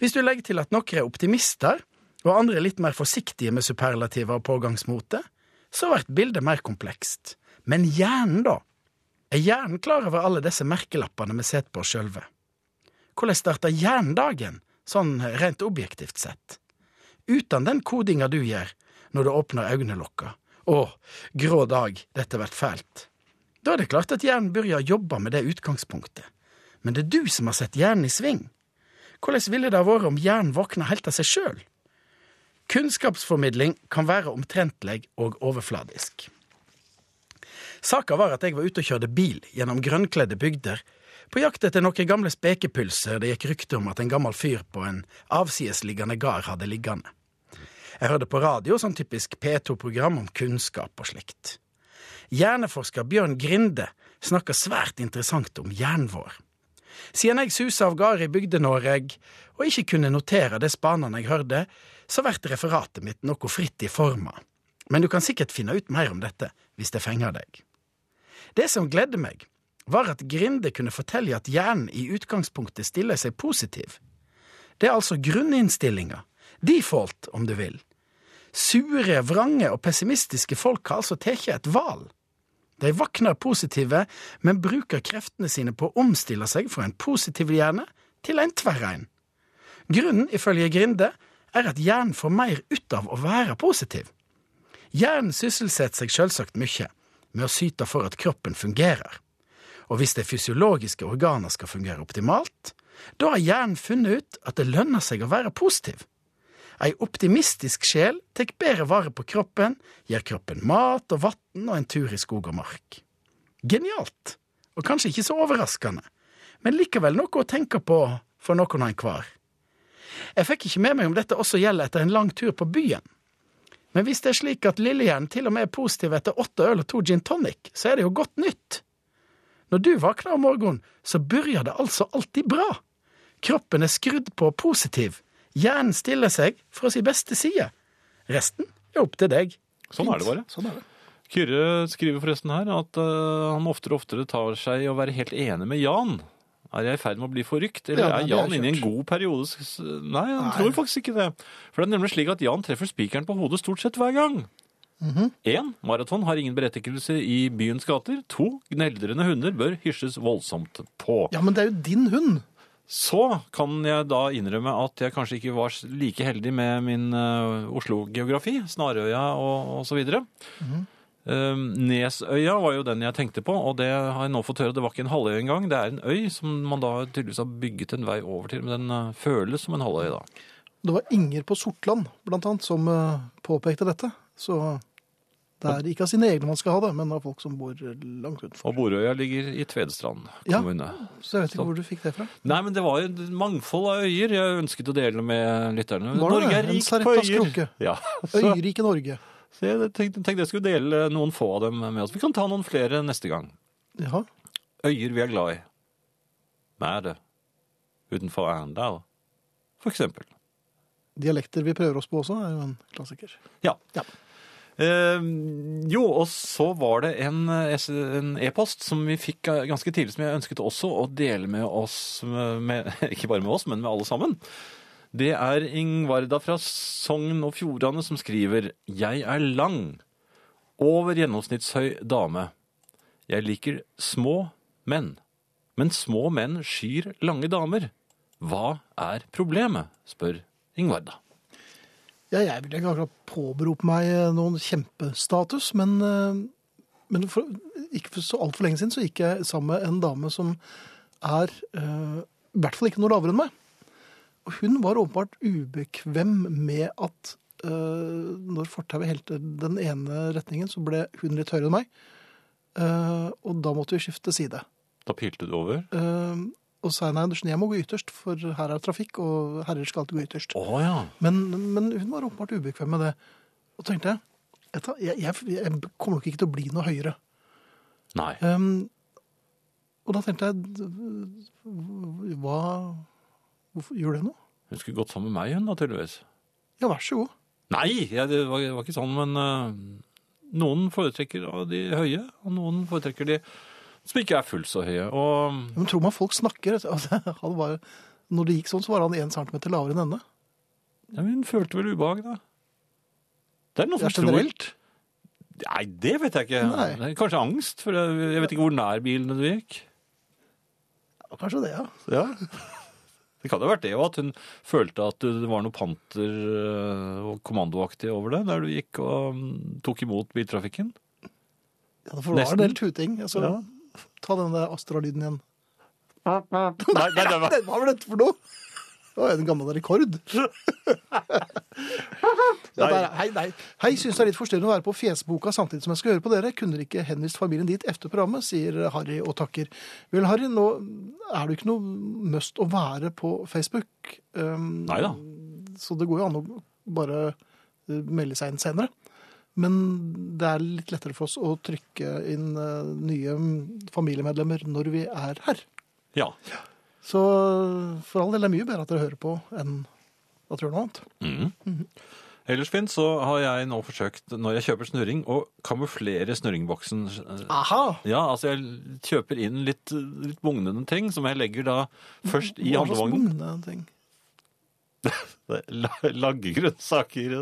Speaker 6: Hvis du legger til at noen er optimister, og andre er litt mer forsiktige med superlativer og pågangsmote, så blir bildet mer komplekst. Men hjernen, da? Er hjernen klar over alle disse merkelappene vi setter på oss sjølve? Hvordan starter hjernen dagen, sånn rent objektivt sett? Uten den kodinga du gjør når du åpner øynelokka. Å, grå dag, dette blir fælt. Da er det klart at hjernen begynner å jobbe med det utgangspunktet. Men det er du som har sett hjernen i sving. Hvordan ville det ha vært om hjernen våkna helt av seg sjøl? Kunnskapsformidling kan være omtrentlig og overfladisk. Saka var at jeg var ute og kjørte bil gjennom grønnkledde bygder, på jakt etter noen gamle spekepølser det gikk rykte om at en gammel fyr på en avsidesliggende gard hadde liggende. Jeg hørte på radio sånn typisk P2-program om kunnskap og slikt. Hjerneforsker Bjørn Grinde snakker svært interessant om hjernen vår siden jeg susa av gårde i Bygde-Noreg og ikke kunne notere det spanene jeg hørte, så vert referatet mitt noe fritt i forma. Men du kan sikkert finne ut mer om dette hvis det fenger deg. Det som gledde meg, var at Grinde kunne fortelle at hjernen i utgangspunktet stiller seg positiv. Det er altså grunninnstillinga, default om du vil. Sure, vrange og pessimistiske folk har altså tatt et valg. De våkner positive, men bruker kreftene sine på å omstille seg fra en positiv hjerne til en tverr en. Grunnen, ifølge Grinde, er at hjernen får mer ut av å være positiv. Hjernen sysselsetter seg selvsagt mye med å syte for at kroppen fungerer. Og hvis de fysiologiske organer skal fungere optimalt, da har hjernen funnet ut at det lønner seg å være positiv. Ei optimistisk sjel tar bedre vare på kroppen, gir kroppen mat og vann og en tur i skog og mark. Genialt! Og kanskje ikke så overraskende, men likevel noe å tenke på for noen og enhver. Jeg fikk ikke med meg om dette også gjelder etter en lang tur på byen. Men hvis det er slik at lillehjernen til og med er positiv etter åtte øl og to gin tonic, så er det jo godt nytt. Når du våkner om morgenen, så begynner det altså alltid bra. Kroppen er skrudd på og positiv. Hjernen stiller seg fra sin beste side. Resten er opp til deg.
Speaker 2: Sånn er det bare.
Speaker 1: Sånn er det.
Speaker 2: Kyrre skriver forresten her at eh, han oftere og oftere tar seg i å være helt enig med Jan. Er jeg i ferd med å bli forrykt, eller
Speaker 1: Ja, nei,
Speaker 2: er
Speaker 1: det er
Speaker 2: Jan inne i en
Speaker 1: kjørt.
Speaker 2: god periode? s- Nei, han
Speaker 1: Nei.
Speaker 2: tror faktisk ikke det. For det er nemlig slik at Jan treffer spikeren på hodet stort sett hver gang.
Speaker 1: Mhm.
Speaker 2: 1. Maraton har ingen berettigelse i byens gater. 2. Gneldrende hunder bør hysjes voldsomt på.
Speaker 1: Ja, men det er jo din hund.
Speaker 2: Så kan jeg da innrømme at jeg kanskje ikke var like heldig med min eh, Oslo-geografi, Snarøya og, og så videre.
Speaker 1: Mhm.
Speaker 2: Eh, Nesøya var jo den jeg tenkte på, og det har jeg nå fått høre, det var ikke en halvøy engang. Det er en øy som man da tydeligvis har bygget en vei over til, men den eh, føles som en halvøy da.
Speaker 1: Det var Inger på Sortland, blant annet, som eh, påpekte dette. Så det er ikke av sine egne man skal ha det, men av folk som bor langt utenfor.
Speaker 2: Og Borøya ligger i Tvedestrand
Speaker 1: Ja.
Speaker 2: kommune.
Speaker 1: Så jeg vet
Speaker 2: Så-
Speaker 1: ikke hvor du fikk det fra.
Speaker 2: Nei, men det var jo et mangfold av øyer jeg ønsket å dele med
Speaker 1: Var det
Speaker 2: lytterne. Norge
Speaker 1: det?
Speaker 2: er
Speaker 1: En
Speaker 2: rikt på
Speaker 1: Sareptas
Speaker 2: øyer.
Speaker 1: krukke.
Speaker 2: Ja, så,
Speaker 1: Øyrike Norge.
Speaker 2: så jeg tenkte, tenkte jeg skulle dele noen få av dem med oss. Vi kan ta noen flere neste gang.
Speaker 1: Ja.
Speaker 2: Øyer vi er glad i. Mære. Utenfor Arendal. For eksempel.
Speaker 1: Dialekter vi prøver oss på også, er jo en klassiker.
Speaker 2: Ja.
Speaker 1: Ja.
Speaker 2: Eh, jo, og så var det en eh, S- en e-post som vi fikk eh, ganske tidlig, som jeg ønsket også å dele med oss, med, med, ikke bare med oss, men med alle sammen. Det er Ingvarda fra Sogn og Fjordane som skriver «Jeg er lang, over gjennomsnittshøy dame. Jeg liker små menn, men små menn skyr lange damer. Hva er problemet?» spør Ingvarda.
Speaker 1: Ja, jeg vil ikke akkurat påberope meg eh, noen kjempestatus, men, eh, men for, ikke for så altfor lenge siden så gikk jeg sammen med en dame som er eh, i hvert fall ikke noe lavere enn meg. Og hun var åpenbart ubekvem med at eh, når fortauet helte den ene retningen, så ble hun litt høyere enn meg. Eh, og da måtte vi skifte side.
Speaker 2: Da pilte du over.
Speaker 1: Eh, og sa jeg nei, Andersen, jeg må gå ytterst, for her er det trafikk, og herrer skal alltid gå ytterst.
Speaker 2: Å ja.
Speaker 1: Men, men hun var åpenbart ubekvem med det. Og tenkte jeg, vet du hva, jeg, jeg, jeg kommer nok ikke til å bli noe høyere.
Speaker 2: Nei.
Speaker 1: Ehm, og da tenkte jeg, hva, hvorfor gjør det noe?
Speaker 2: Hun skulle gått sammen med meg, hun, naturligvis.
Speaker 1: Ja, vær så god.
Speaker 2: Nei, ja, det, var, det var ikke sånn, men eh, noen foretrekker av de høye, og noen foretrekker de som ikke er fullt så høye. Og
Speaker 1: Men tror man folk snakker? Altså, han var, når det gikk sånn, så var han en centimeter lavere enn henne.
Speaker 2: ja, men hun følte vel ubehag, da. Det er noen
Speaker 1: Ja,
Speaker 2: som
Speaker 1: generelt.
Speaker 2: tror Nei, det vet jeg ikke.
Speaker 1: Nei.
Speaker 2: Det er Kanskje angst, for jeg, jeg vet ikke hvor nær bilene du gikk.
Speaker 1: Ja, Kanskje det, ja.
Speaker 2: Ja. Det kan jo ha vært det, og at hun følte at det var noe panter eh, og kommandoaktig over det, der du gikk og mm, tok imot biltrafikken.
Speaker 1: ja for det var
Speaker 2: Nesten.
Speaker 1: en del tuting. Altså,
Speaker 2: Ja.
Speaker 1: Ta den der Astra-lyden igjen.
Speaker 2: Nei, nei, det var...
Speaker 1: Nei, hva var dette for noe? Det var jo en gammel rekord. ja, der, hei, nei. Hei, synes det er litt forstyrrende å være på fjesboka samtidig som jeg skal høre på dere. Kunne dere ikke henvist familien dit efter programmet, sier Harry og takker. Vel, Harry, nå er det jo ikke noe must å være på Facebook. Um,
Speaker 2: Nei da.
Speaker 1: Så det går jo an å bare eh, melde seg inn senere. Men det er litt lettere for oss å trykke inn eh, nye familiemedlemmer når vi er her.
Speaker 2: Ja.
Speaker 1: Så for all del er det mye bedre at dere hører på enn at dere gjør noe annet.
Speaker 2: Ellers, Finn, så har jeg nå forsøkt, når jeg kjøper snurring, å kamuflere snurringboksen.
Speaker 1: Aha!
Speaker 2: Ja, altså jeg kjøper inn litt, litt bugnende ting, som jeg legger da først i
Speaker 1: Hva slags
Speaker 2: handlevognen.
Speaker 1: bugnende ting?
Speaker 2: Det er la- Lange grønnsaker.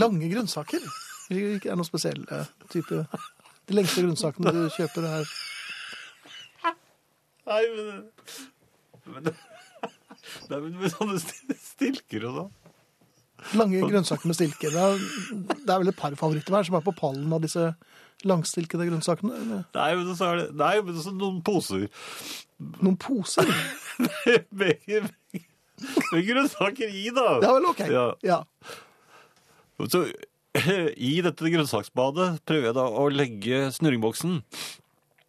Speaker 1: Lange grønnsaker? Ikke er noen spesiell eh, type De lengste grønnsakene du kjøper, er
Speaker 2: Nei, men... men det- Nei, men med sånne stil- stilker og sånn.
Speaker 1: lange grønnsaker med stilke. Det er, det er vel et par favoritter hver som er på pallen av disse langstilkede grønnsakene. eller?
Speaker 2: Nei, men så er det... Nei, men så noen poser.
Speaker 1: Noen poser?
Speaker 2: Med, med, med grønnsaker i, da.
Speaker 1: Det er vel OK?
Speaker 2: Ja.
Speaker 1: Ja.
Speaker 2: Så i dette grønnsaksbadet prøver jeg da å legge snurringboksen.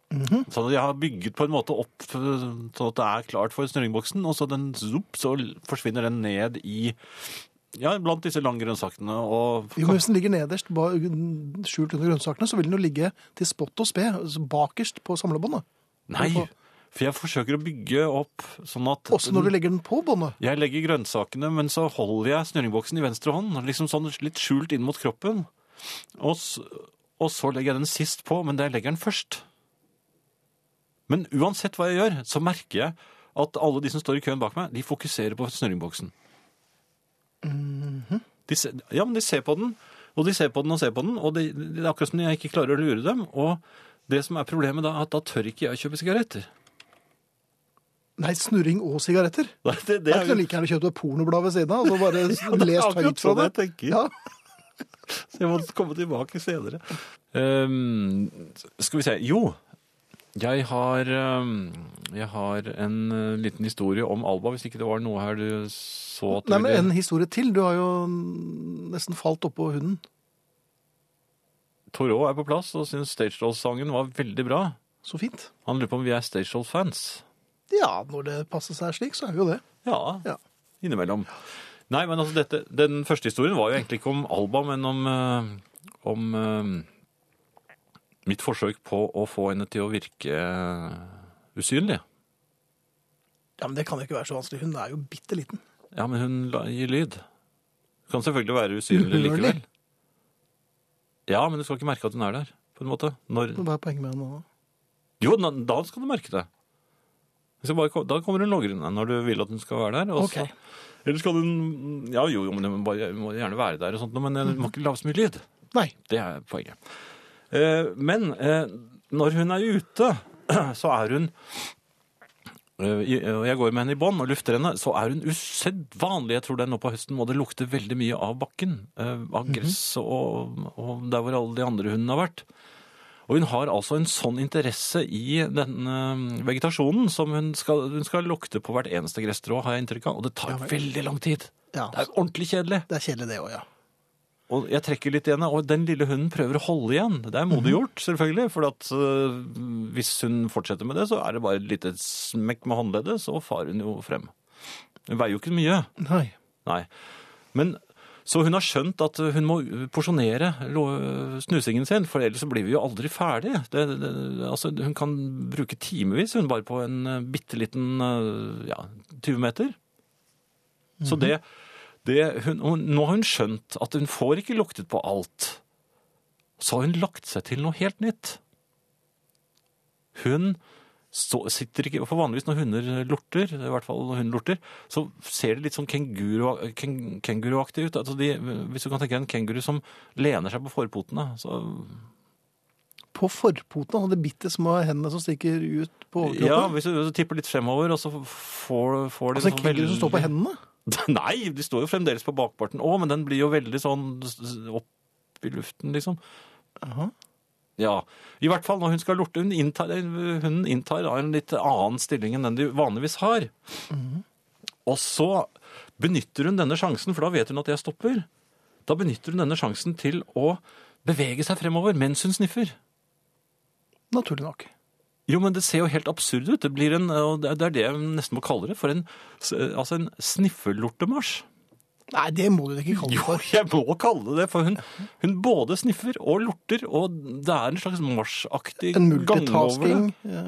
Speaker 1: Mhm.
Speaker 2: Sånn at jeg har bygget på en måte opp eh, sånn at det er klart for snurringboksen, og så, den, zoop, så forsvinner den ned i ja, blant disse langgrønnsakene. Og
Speaker 1: Jo, men Hvis den ligger nederst, ba- skjult under grønnsakene, så vil den jo ligge til spott og spe, altså bakerst på samlebåndet.
Speaker 2: Nei, for jeg forsøker å bygge opp sånn at
Speaker 1: Også når du legger den på båndet.
Speaker 2: jeg legger grønnsakene, men så holder jeg snurringboksen i venstre hånd, liksom sånn litt skjult inn mot kroppen. Og så, og så legger jeg den sist på, men jeg legger den først. Men uansett hva jeg gjør, så merker jeg at alle de som står i køen bak meg, de fokuserer på snurringboksen. de se, ja, men de ser på den, og de ser på den og ser på den, og det, det er akkurat som jeg ikke klarer å lure dem. Og det som er problemet da, er at da tør ikke jeg å kjøpe sigaretter.
Speaker 1: Nei, snurring og sigaretter.
Speaker 2: Det, det,
Speaker 1: Jeg kunne like gjerne kjøpt et pornoblad ved siden av og så bare lest
Speaker 2: akkurat
Speaker 1: høyt fra
Speaker 2: sånn
Speaker 1: det.
Speaker 2: jeg tenker.
Speaker 1: Ja.
Speaker 2: Så jeg må komme tilbake senere. Ehm, skal vi se. Jo, jeg har, ehm, jeg har en eh, liten historie om Alba, hvis ikke det var noe her du så at du
Speaker 1: Nei, men
Speaker 2: ville-
Speaker 1: En historie til. Du har jo nesten falt oppå hunden.
Speaker 2: Torå er på plass og syns Stage Dolls-sangen var veldig bra.
Speaker 1: Så fint.
Speaker 2: Han lurer på om vi er Stage Dolls-fans.
Speaker 1: Ja, når det passer seg slik, så er vi jo det.
Speaker 2: Ja,
Speaker 1: Ja.
Speaker 2: innimellom. Nei, men altså dette, Den første historien var jo egentlig ikke om Alba, men om, eh, om eh, mitt forsøk på å få henne til å virke eh, usynlig.
Speaker 1: Ja, Men det kan jo ikke være så vanskelig. Hun er jo bitte liten.
Speaker 2: Ja, men hun la- gir lyd. Hun kan selvfølgelig være usynlig
Speaker 1: Uhørlig.
Speaker 2: likevel. Ja, men du skal ikke merke at hun er der, på en måte. Når...
Speaker 1: Hva er poenget med henne nå?
Speaker 2: Jo, da, da skal du merke det. Hvis jeg Bare, kom- da kommer hun logrende når du vil at hun skal være der. og så-
Speaker 1: Ok.
Speaker 2: Eller skal hun Ja, jo, jo, men hun bare- hun må gjerne være der og sånt, men hun må ikke lage så mye lyd.
Speaker 1: Nei.
Speaker 2: Det er poenget. Eh, Men eh, når hun er ute, så er hun eh, i- og jeg går med henne i bånd og lufter henne, så er hun usedvanlig. Jeg tror det er nå på høsten må det lukte veldig mye av bakken. eh,
Speaker 1: Mhm.
Speaker 2: Av gress og, og der hvor alle de andre hundene har vært. Og hun har altså en sånn interesse i denne vegetasjonen som hun skal, hun skal lukte på hvert eneste gresstrå, har jeg inntrykk av. Og det tar
Speaker 1: Ja, vel.
Speaker 2: veldig lang tid.
Speaker 1: Ja,
Speaker 2: Det er ordentlig kjedelig.
Speaker 1: Det er kjedelig, det òg, ja.
Speaker 2: Og jeg trekker litt i henne, og den lille hunden prøver å holde igjen. Det er modig gjort, selvfølgelig, for at øh, hvis hun fortsetter med det, så er det bare et lite smekk med håndleddet, så farer hun jo frem. Hun veier jo ikke mye,
Speaker 1: Nei.
Speaker 2: nei. Men så hun har skjønt at hun må porsjonere lo- snusingen sin, for ellers så blir vi jo aldri ferdig. Det, det, altså, hun kan bruke timevis, hun bare på en eh, bitteliten, eh, ja, 20 meter. Så det, det hun, hun, nå har hun skjønt at hun får ikke luktet på alt. Så har hun lagt seg til noe helt nytt. Hun så, sitter ikke, for vanligvis når hunder lorter, i hvert fall når hunden lorter, så ser det litt sånn kenguru, ken, kenguruaktig ut. Altså de, hvis du kan tenke deg en kenguru som lener seg på forpotene, så
Speaker 1: På forpotene hadde bitte små hendene som stikker ut på
Speaker 2: Ja,
Speaker 1: overkroppen.
Speaker 2: hvis du, tipper litt fremover, og så får, får de
Speaker 1: altså
Speaker 2: sånn noe
Speaker 1: en kenguru som står på hendene?
Speaker 2: Nei, de står jo fremdeles på bakparten òg, men den blir jo veldig sånn opp i luften, liksom.
Speaker 1: Jaha.
Speaker 2: Ja, I hvert fall når hun skal lorte. Hun inntar, hun inntar da en litt annen stilling enn den de vanligvis har. Og så benytter hun denne sjansen, for da vet hun at jeg stopper. Da benytter hun denne sjansen til å bevege seg fremover mens hun sniffer.
Speaker 1: Naturlig nok.
Speaker 2: Jo, men det ser jo helt absurd ut. Det, blir en, og det er det jeg nesten må kalle det, for en, altså en sniffelortemarsj.
Speaker 1: Nei, det må du ikke kalle det
Speaker 2: Jo,
Speaker 1: for.
Speaker 2: jeg må kalle det det, for hun, hun både sniffer og lorter, og det er en slags marsjaktig
Speaker 1: En
Speaker 2: gang over det.
Speaker 1: multitasking. eh,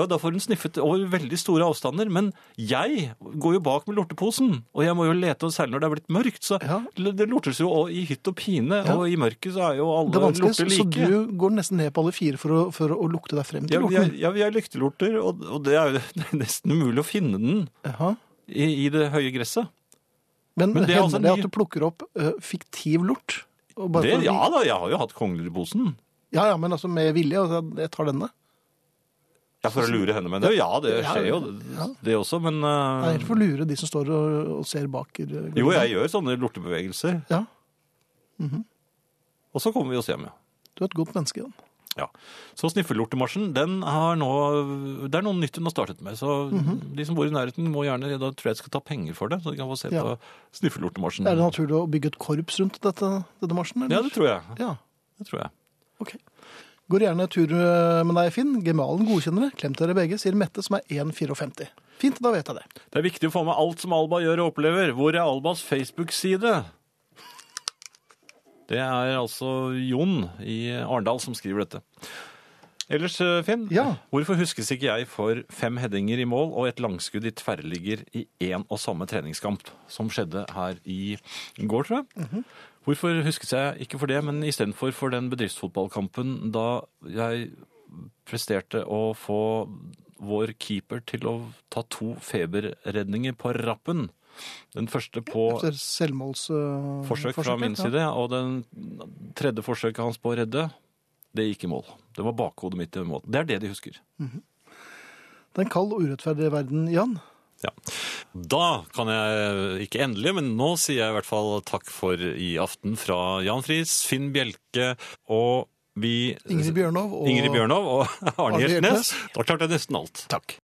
Speaker 2: Ja, da får hun sniffet over veldig store avstander, men jeg går jo bak med lorteposen, og jeg må jo lete, og særlig når det er blitt mørkt, så
Speaker 1: Ja.
Speaker 2: l- det lortes jo og i hytt og pine,
Speaker 1: Ja.
Speaker 2: og i mørket så er jo
Speaker 1: Det er
Speaker 2: alle
Speaker 1: vanskelig, så,
Speaker 2: lorter
Speaker 1: så
Speaker 2: like.
Speaker 1: du går nesten ned på alle fire for å, for å lukte deg frem
Speaker 2: Ja,
Speaker 1: til
Speaker 2: vi er,
Speaker 1: lorten?
Speaker 2: ja, vi er lyktelorter, og, og det er jo nesten umulig å finne den
Speaker 1: Jaha.
Speaker 2: i, i det høye gresset.
Speaker 1: Men,
Speaker 2: Men det er
Speaker 1: hender
Speaker 2: altså
Speaker 1: det
Speaker 2: ny-
Speaker 1: at du plukker opp eh, fiktiv lort? Og bare
Speaker 2: Det,
Speaker 1: for å-
Speaker 2: ja da, jeg har jo hatt kongler i posen.
Speaker 1: ja, ja, men altså med vilje. Altså, jeg tar denne.
Speaker 2: Ja, for å lure henne med det. Ja, det
Speaker 1: Ja,
Speaker 2: skjer jo
Speaker 1: ja.
Speaker 2: det også, men eh,
Speaker 1: Det er helt for å lure de som står og, og ser bak. eh,
Speaker 2: Jo, jeg gjør sånne lortebevegelser.
Speaker 1: Ja,
Speaker 2: Og så kommer vi oss hjem, ja.
Speaker 1: du er et godt menneske. Jan.
Speaker 2: ja. Så sniffelortemarsjen, den har nå Det er noe nytt hun har startet med. Så de som bor i nærheten, må gjerne Da tror jeg jeg skal ta penger for det, så de kan få se
Speaker 1: Ja.
Speaker 2: på sniffelortemarsjen.
Speaker 1: Er det naturlig å bygge et korps rundt dette, denne marsjen?
Speaker 2: Ja, det tror jeg.
Speaker 1: Ja,
Speaker 2: Det tror jeg.
Speaker 1: ok. Går gjerne tur eh, med deg, Finn. Gemalen godkjenner det. Klem til dere begge, sier Mette, som er 1,54. Fint, da vet jeg det.
Speaker 2: Det er viktig å få med alt som Alba gjør og opplever. Hvor er Albas Facebook-side? Det er altså Jon i Arendal som skriver dette. Ellers, eh, Finn,
Speaker 1: Ja.
Speaker 2: hvorfor huskes ikke jeg for fem headinger i mål og et langskudd i tverrligger i én og samme treningskamp, som skjedde her i går, tror jeg? Hvorfor huskes jeg ikke for det, men istedenfor for den bedriftsfotballkampen da jeg presterte å få vår keeper til å ta to feberredninger på rappen? Den første på
Speaker 1: Etter selvmålsforsøk.
Speaker 2: forsøk fra min side, og den tredje forsøket hans på å redde, det gikk i mål. Det var bakhodet mitt i mål. Det er det de husker.
Speaker 1: Det er en kald og urettferdig verden, Jan.
Speaker 2: Da kan jeg, ikke endelig, men nå sier jeg i hvert fall takk for i aften fra Jan Friis, Finn Bjelke og vi
Speaker 1: Ingrid Bjørnov og
Speaker 2: Ingrid Bjørnov og Arne
Speaker 1: Arne
Speaker 2: Hjeltnes.
Speaker 1: Hjeltnes.
Speaker 2: Da klarte jeg nesten alt.
Speaker 1: Takk.